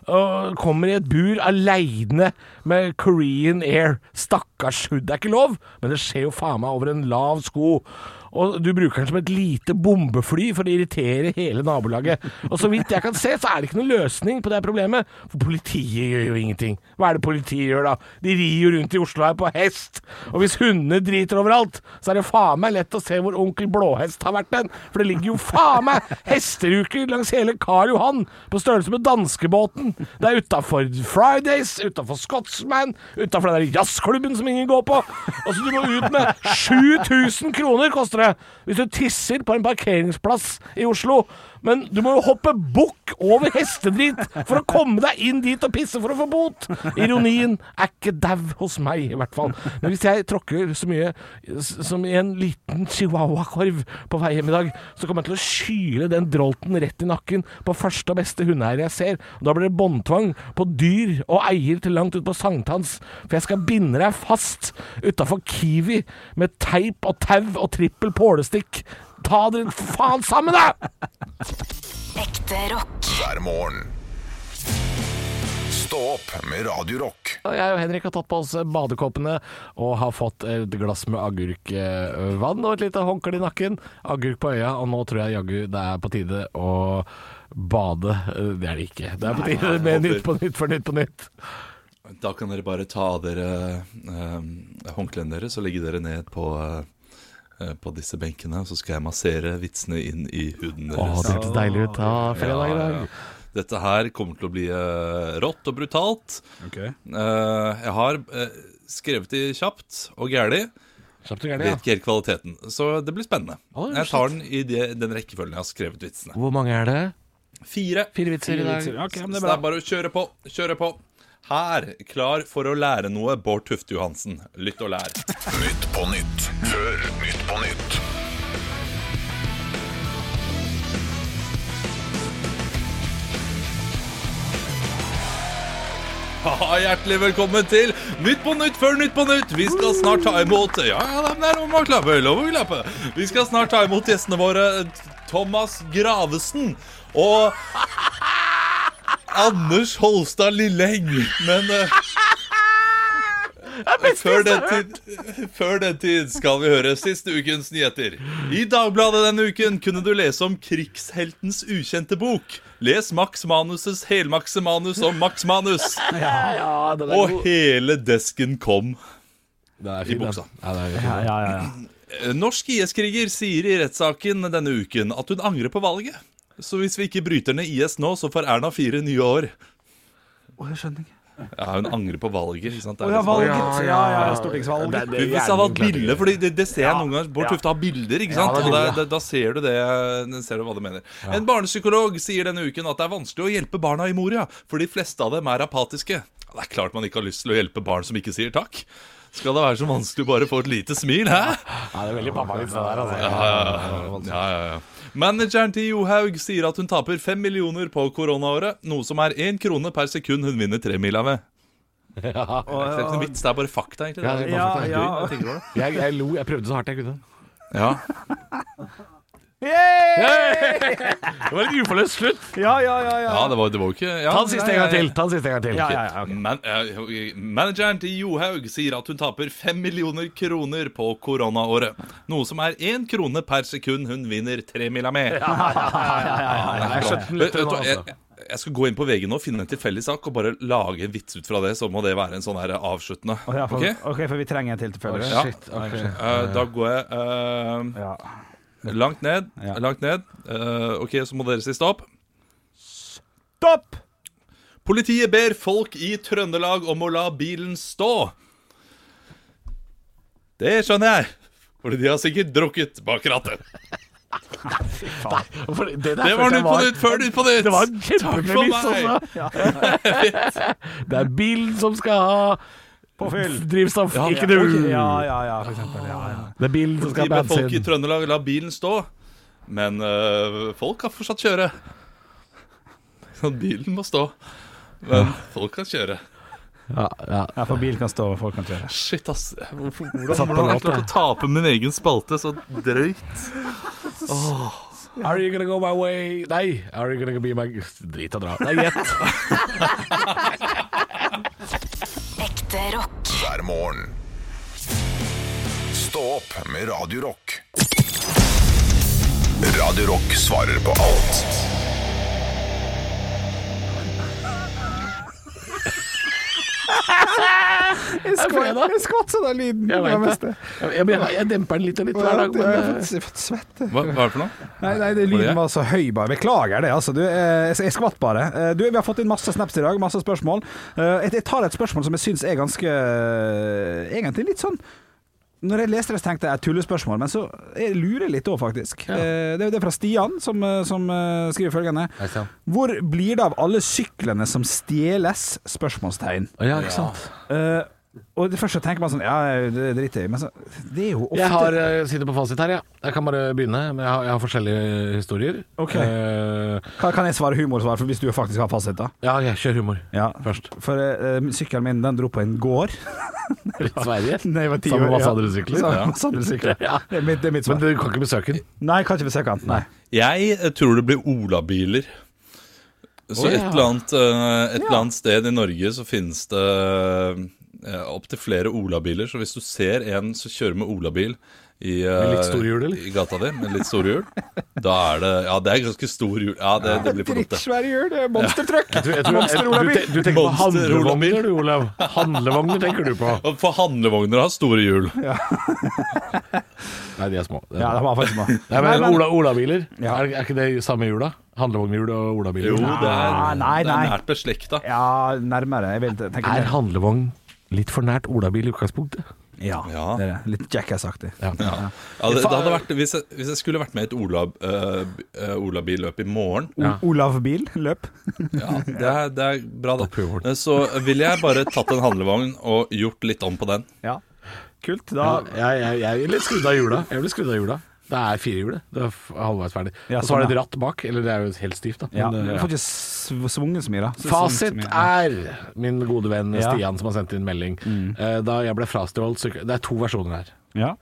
D: Og kommer i et bur aleine med Korean Air. Stakkars hund. Det er ikke lov, men det skjer jo faen meg over en lav sko. Og du bruker den som et lite bombefly for å irritere hele nabolaget. Og så vidt jeg kan se, så er det ikke noen løsning på det her problemet. For politiet gjør jo ingenting. Hva er det politiet gjør da? De rir jo rundt i Oslo her på hest. Og hvis hundene driter overalt, så er det faen meg lett å se hvor onkel Blåhest har vært den. For det ligger jo faen meg hesteruker langs hele Karl Johan, på størrelse med danskebåten. Det er utafor Fridays, utafor Scotsman, utafor den der jazzklubben som ingen går på. Altså, du må ut med 7000 kroner, koster det, hvis du tisser på en parkeringsplass i Oslo. Men du må jo hoppe bukk over hestedrit for å komme deg inn dit og pisse for å få bot. Ironien er ikke dau hos meg, i hvert fall. Men hvis jeg tråkker så mye s- som i en liten chihuahua-korv på vei hjem i dag, så kommer jeg til å skyle den drolten rett i nakken på første og beste hundeeier jeg ser. Da blir det båndtvang på dyr og eier til langt ut på sankthans, for jeg skal binde deg fast utafor Kiwi med teip og tau og trippel pålestikk. Ta dere faen sammen, da!
B: Ekte rock.
A: hver morgen. Stå opp med Radio Rock.
D: Og Jeg og Henrik har tatt på oss badekåpene og har fått et glass med agurkvann og et lite håndkle i nakken. Agurk på øya, og nå tror jeg jaggu det er på tide å bade. Det er det ikke. Det er på tide med Nytt på Nytt for Nytt på Nytt.
E: Da kan dere bare ta av dere eh, håndklærne deres og legge dere ned på, eh, på disse benkene. Så skal jeg massere vitsene inn i huden
D: Å,
E: deres.
D: det hørtes deilig ut. Ja, fredag i
E: Ja,
D: dag.
E: ja. Dette her kommer til å bli eh, rått og brutalt. Eh, jeg har eh, skrevet de kjapt og gæli.
D: Kjapt og gærent,
E: Vet ikke helt kvaliteten. Så det blir spennende.
D: Å,
E: jeg tar den i det, den rekkefølgen jeg har skrevet vitsene.
D: ja. Hvor mange er det?
E: Fire.
D: Fire vitser i dag.
F: Ok, men det er
E: Så det er
F: bra.
E: bare å kjøre på. Kjøre på. Her, klar for å lære noe, Bård Tufte Johansen. Lytt og lær.
A: Nytt på nytt før Nytt på nytt.
E: Haha, Hjertelig velkommen til Nytt på nytt før Nytt på nytt. Vi skal snart ta imot Ja, ja, det er lov å klappe. Lov å klappe. Vi skal snart ta imot gjestene våre. Thomas Gravesen og Anders Holstad Lilleheng. Men eh, før den, tid, før den tid skal vi høre siste ukens nyheter. I Dagbladet denne uken kunne du lese om krigsheltens ukjente bok. Les Max Manuses helmakse manus om Max Manus. Og hele desken kom.
D: Det er
E: I buksa.
D: Ja, det er fin.
F: Ja, ja, ja, ja.
E: Norsk IS-kriger sier i rettssaken denne uken at hun angrer på valget. Så hvis vi ikke bryter ned IS nå, så får Erna fire nye år.
F: Å, jeg skjønner ikke.
E: Ja, hun angrer på valget. ikke sant? Det
F: Å
E: er
F: ja,
E: det som-
F: valget. Ja, ja, ja, stortingsvalget.
D: Det- det-
E: Hvis jeg hadde hatt bilde, fordi det, det ser jeg noen ganger Bård Tufte har bilder, ikke
D: det er
E: sant? og det,
D: bilder, ja.
E: det, da ser du det den Ser du hva du mener. En barnepsykolog sier denne uken at det er vanskelig å hjelpe barna i Moria, for de fleste av dem er apatiske. Det er klart man ikke har lyst til å hjelpe barn som ikke sier takk. Skal det være så vanskelig å bare få et lite smil, hæ?
D: Ja, det er veldig pappavits, det der, altså.
E: Ja, ja, ja. Manageren til Johaug sier at hun taper fem millioner på koronaåret, noe som er én krone per sekund hun vinner tremila ved. Det er ikke noen vits, det er bare fakta, egentlig.
D: Ja, det er
F: Ja,
D: bare
F: ja.
D: fakta. Jeg, jeg lo, jeg prøvde så hardt jeg kunne.
E: Ja.
D: Det var litt uforløst slutt.
F: Ja, ja, ja, ja.
E: ja, det var det var jo ikke ja,
D: Ta den siste en gang til. Ta den siste en gang til.
F: Ja, ja, ja, ok.
E: Man, eh, manageren til Johaug sier at hun taper 5 millioner kroner på koronaåret. Noe som er 1 krone per sekund hun vinner 3 mila med.
D: Jeg skjønte den
E: Vet-
D: lettere
E: vet du
D: nå,
E: hva,
D: altså.
E: Jeg, jeg skal gå inn på VG nå, finne en tilfeldig sak og bare lage en vits ut fra det. Så må det være en sånn her avsluttende.
F: Å, ja, for,
E: Ok?
F: ok, for vi trenger en til tilfeldigvis.
E: Ja.
D: Shit, ok.
E: Eh, da går jeg eh,
F: Ja.
E: langt ned.
F: Ja.
E: Langt ned. Eh, OK, så må dere si stopp.
F: Stopp!
E: Politiet ber folk i Trøndelag om å la bilen stå. Det skjønner jeg, Fordi de har sikkert drukket bak rattet.
D: For det, der
E: Det
D: følte
E: var
D: jeg
E: Nytt på nytt før Nytt på nytt!
D: Det var en altså.
E: Takk for
D: kjempepremiss
E: meg.
D: også. Det er bilen som skal ha
F: Påfyll.
D: drivstoff, ikke du.
F: Ok, ja, ja, ja, for eksempel. Ja, ja.
D: Det er bilen som
E: De
D: skal ha
E: ber folk i
D: bensin.
E: Trøndelag la bilen stå, men øh, folk kan fortsatt kjøre. Så Bilen må stå, men folk kan kjøre.
D: Ja, ja.
F: ja, for bil kan stå, og folk kan kjøre.
E: Shit, ass. Hvorfor- Hvordan hvordan har jeg klart å tape min egen spalte så drøyt?
D: Are you gonna go my way? Nei. Are you gonna be my Drit og dra. Nei, gjett.
B: Ekte rock.
A: hver morgen. Stå opp med Radio Rock. Radio Rock svarer på alt.
F: Jeg skvatt sånn av lyden.
D: Jeg vet det. Jeg, jeg, jeg demper den litt og litt hver dag.
F: Jeg
D: Men,
F: har fått- fått svette.
E: Hva, hva er det for noe?
F: Nei, nei det,
E: Var det jeg?
F: lyden var så høy, bare. Beklager det, altså. Du, eh, jeg skvatt bare. Eh, Du, vi har fått inn masse snaps i dag, masse spørsmål. Eh, jeg, jeg tar et spørsmål som jeg syns er ganske eh, Egentlig litt sånn Når jeg leste det, så tenkte jeg et tullespørsmål, men så jeg lurer litt òg, faktisk. Eh, det, er- det er fra Stian, som, eh, som eh, skriver følgende.
D: Hei, Stian.
F: Hvor blir det av alle syklene som stjeles? Spørsmålstegn.
D: eh, ja, ikke sant.
F: Eh, og det første tenker man sånn Ja, det driter jeg i, men så Det er jo ofte
D: Jeg har, eh, sitter på fasit her, ja. Jeg kan bare begynne. men Jeg har, jeg har forskjellige historier.
F: Ok.
D: Eh,
F: Kan- Kan jeg svare humorsvar, for hvis du faktisk har fasit, da?
D: ja, jeg kjører humor.
F: Ja,
D: Først.
F: For eh, sykkelen min den dro på en gård.
D: Sverige.
F: Da jeg var ti
D: Sammen med
F: år,
D: masse
F: ja.
D: andre sykler.
F: Sammen
D: Ja.
F: med masse andre sykler.
D: Ja.
F: Det er mitt, det er mitt
D: Men
F: svar.
D: du kan ikke besøke den.
F: Nei, kan ikke besøke han. Nei.
E: Jeg eh, tror det blir olabiler.
D: Å,
E: Så
D: ja.
E: et, eller annet, eh, et eller annet sted i Norge så finnes det eh, opptil flere olabiler. Så hvis du ser en som kjører med olabil i, eh,
D: Med litt store hjul, eller?
E: i gata di, med litt store hjul, da er det Ja, det er ganske stor hjul. Ja, det, det blir for dumt, det.
F: Drittsvære hjul, det er monstertruck!
D: Jeg tror- jeg tror-
F: Monster-olabil.
D: Du, te- du tenker på
E: Monster-olabil.
D: handlevogner, du, Olav. Handlevogner tenker du på.
E: For handlevogner har store hjul.
D: Nei, de er små. Det er
F: Ja,
D: små.
F: det var faktisk meg.
D: Nei, men Ola, Olabiler,
F: Ja.
D: er, er ikke det samme hjula? Handlevognhjul og olabiler?
E: Jo, det er,
D: Ah,
F: Nei,
E: det
F: nei.
E: er nært beslekta.
F: Ja, nærmere. Jeg vil tenke
D: Er handlevogn litt for nært olabil i utgangspunktet?
F: Ja,
E: Ja.
F: det er det. Litt jackass-aktig.
E: Ja, det, det hadde vært, hvis, jeg, hvis jeg skulle vært med i et olab, eh, eh, olabilløp i morgen
F: O- Olav Bil løp.
E: Ja, det er, det er bra,
D: prøver
E: da. Eh, Så ville jeg bare tatt en handlevogn og gjort litt om på den.
F: Ja. Kult. Da
D: jeg, jeg, jeg er litt skrudd av hjula. Jeg blir skrudd av hjula. Det er firehjulet. Det er f- halvveis ferdig. og
F: Ja,
D: så er
F: sånn,
D: det et ratt bak. Eller det er jo helt stivt, da.
F: ja,
D: Men,
F: Du
D: eh,
F: får ikke sv- svunget så mye, da. Så-
D: Fasit
F: så mye.
D: er min gode venn
F: Ja.
D: Mm. Stian som har sendt inn melding. Eh, Da jeg ble frastjålet syk- Det er to versjoner her.
F: Ja.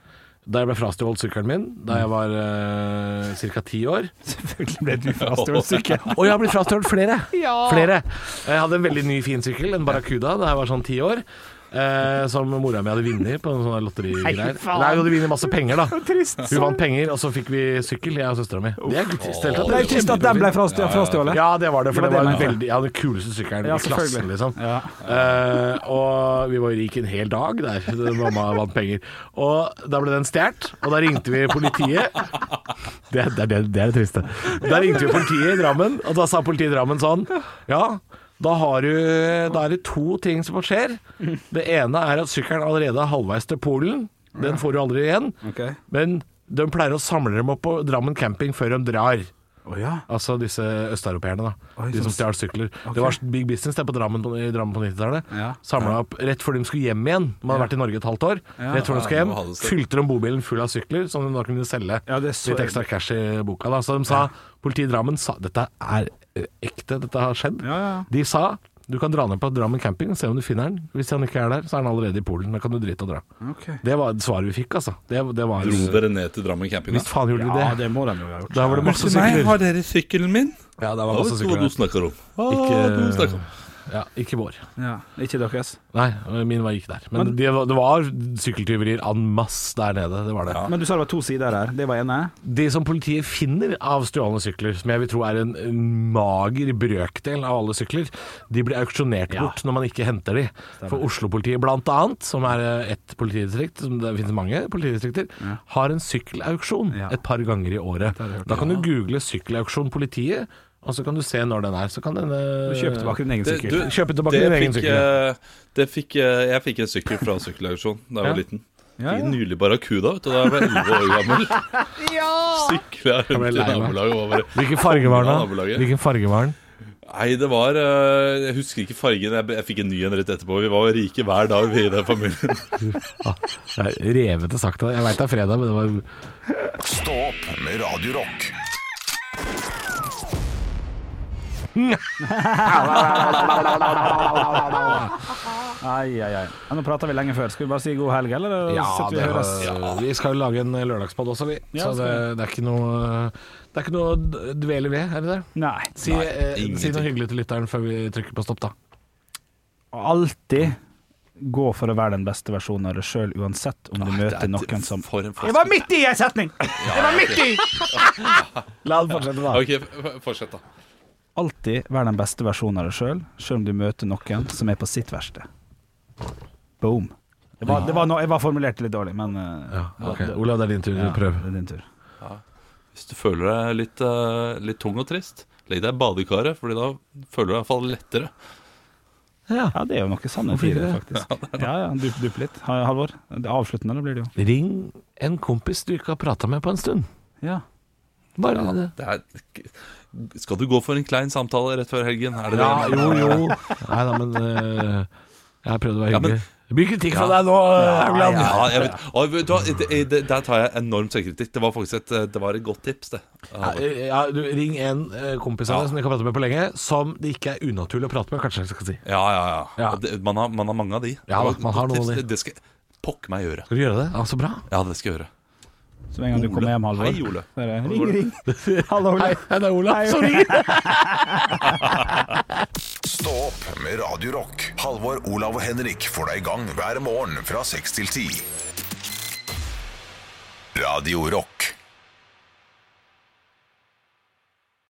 D: da jeg ble frastjålet sykkelen min da jeg var uh, ca. ti år.
F: Selvfølgelig ble du frastjålet sykkel.
D: Og jeg har blitt frastjålet flere. flere. Jeg hadde en veldig ny, fin sykkel, en Barracuda, da jeg var sånn ti år. eh, som mora mi hadde vunnet på en sånn lotterigreier.
F: faen.
D: Nei, Hun hadde vunnet masse penger, da.
F: Trist.
D: Hun vant penger, og så fikk vi sykkel, jeg og søstera mi. Det er ikke trist i det hele tatt.
F: Det er trist at den ble frastjå- frastjålet.
D: Ja, det var det, for
F: Det
D: det
F: var
D: var,
F: det jeg mente.
D: veldig, ja, den kuleste sykkelen
F: Ja,
D: i klassen,
F: selvfølgelig.
D: liksom.
F: Ja.
D: Eh, og vi var jo rik en hel dag der, mamma vant penger. Og da ble den stjålet, og da ringte vi politiet. Det, er- det, er det, det er det triste. Da ringte vi politiet i Drammen, og da sa politiet i Drammen sånn Ja, da, har du, da er det to ting som skjer. Det ene er at sykkelen allerede er halvveis til Polen. Den får du aldri igjen.
F: Ok.
D: Men de pleier å samle dem opp på Drammen camping før de drar.
F: Å ja.
D: Altså disse østeuropeerne, da.
F: Oi,
D: de
F: som-
D: som stjal sykler. Det var big business det på Drammen på, i Drammen på 90-tallet.
F: Ja.
D: Samla opp rett før de skulle hjem igjen. De hadde vært i Norge et halvt år. Rett før de skulle
E: Ja,
D: hjem,
E: nå hadde det stått.
D: fylte de bobilen full av sykler, som de da kunne selge
F: Ja, det er så-
D: litt ekstra cash i boka. Da. Så de sa Politiet i Drammen sa Dette er eh, ekte, dette har skjedd.
F: Ja, ja.
D: De sa du kan dra ned på Drammen camping og se om du finner den. Hvis han ikke er der, så er han allerede i Polen. Da kan du drite og dra.
F: Ok.
D: Det var svaret vi fikk, altså. Det, det var
E: Dro dere ned til Drammen camping? da?
D: Visst faen gjorde de
F: Ja,
D: det.
F: det må de jo ha gjort.
D: Da var det masse
E: Nei,
D: sykler.
E: har dere sykkelen min?
D: Ja, det var
E: Hva
D: masse sykler.
E: du snakker om? Hva
D: Ikke-
E: Ah, du snakker om?
D: Ja, ikke vår.
F: Ja, ikke deres.
D: Nei, min var ikke der. Men, det, var, det var sykkeltyverier en masse der nede. Det var det.
F: Men du sa det var to sider der. Det var ene.
D: Det som politiet finner av stjålne sykler, som jeg vil tro er en, en mager brøkdel av alle sykler, de blir auksjonert bort når man ikke henter de. For Oslo-politiet blant annet, som er eh, ett politidistrikt, som det finnes mange politidistrikter, har en sykkelauksjon
F: Ja.
D: et par ganger i året. Da kan du google 'sykkelauksjon politiet', og så kan du se når den er. Så kan denne
F: Du kjøpte tilbake din egen
E: Det-
F: sykkel.
E: du-
D: Kjøpe tilbake
E: Det
D: din egen
E: fikk,
D: sykkel.
E: eh, det fikk, eh, jeg fikk en sykkel fra en sykkelauksjon da jeg
D: Ja.
E: var liten.
F: Ja,
E: Fikk
F: ja.
E: en nylig barracuda vet du, da jeg var 11 år gammel. Sykla rundt
D: lei
E: i
D: meg.
E: nabolaget og bare
D: Hvilken farge var
E: Ja,
D: den? da?
E: nabolaget.
D: Hvilken farge var den?
E: Nei, det var eh, Jeg husker ikke fargen. Jeg, jeg fikk en ny en rett etterpå. Vi var rike hver dag, vi i den familien.
D: Det er revete sagt av deg. Jeg veit det er fredag, men det var
A: Stå opp med Radio Rock.
F: Ai, ai, ai. Ja, nå prater vi lenge før. Skal vi bare si god helg, eller? Sitter vi og høres?
D: Vi skal jo lage en eh, lørdagspod også, vi.
F: Ja,
D: så det, det er ikke noe Det er ikke noe å d- dvele ved, er det det?
F: Nei.
D: Si, eh, si
E: ingenting.
D: noe hyggelig til lytteren før vi trykker på stopp, da.
F: Alltid gå for å være den beste versjonen av deg sjøl, uansett om du møter noen som
E: For en
F: Jeg var midt i en setning! Jeg var midt i! La det fortsette, da.
E: Ok, f- f- fortsett, da.
F: Alltid være den beste versjonen av deg sjøl, sjøl om du møter noen som er på sitt verste. Boom. Det var, det var no, jeg var formulert litt dårlig, men eh,
D: ok. Olav, det er din tur.
F: ja,
D: Prøv.
F: Det er din tur.
E: Hvis du føler deg litt, eh, litt tung og trist, legg deg i badekaret, Fordi da føler du deg iallfall lettere.
F: Ja, det er jo noe sannhet i det, faktisk. Ja, ja, dupp dupp litt. Ha- Halvor, det er avsluttende eller blir det jo.
D: Ring en kompis du ikke har prata med på en stund.
F: Ja.
D: Bare
E: Ja,
D: det.
E: det er, skal du gå for en klein samtale rett før helgen? Er det
D: Ja,
E: det?
D: jo, jo. Nei da, men eh, Jeg har prøvd å være
E: Ja, men-
D: hyggelig. Det blir kritikk fra deg nå, Haugland.
E: Ja, jeg vet, Å, vet du hva, det, det, der tar jeg enorm selvkritikk. Det var faktisk et, eh, det var et godt tips, det.
D: Ja, ja, du, ring en eh, kompis av deg
E: Ja.
D: som du ikke har pratet med på lenge, som det ikke er unaturlig å prate med, kanskje jeg skal si.
E: Ja, ja, ja.
D: Ja.
E: Og Det, man, har, man har mange av de.
D: Ja,
E: Det var et
D: man har noen
E: godt tips.
D: av de.
E: Det, det skal jeg pokker meg gjøre.
D: Skal du gjøre det? Ja, så bra.
E: Ja, det skal jeg gjøre.
F: Så en gang du kommer hjem, Halvor
E: Hei, Ole.
F: så er det, Ring, ring. Hallo, Ole.
D: det er Olav.
F: Sorry.
A: Stå opp med Radio Rock. Halvor, Olav og Henrik får deg i gang hver morgen fra 6 til 10. Radio Rock.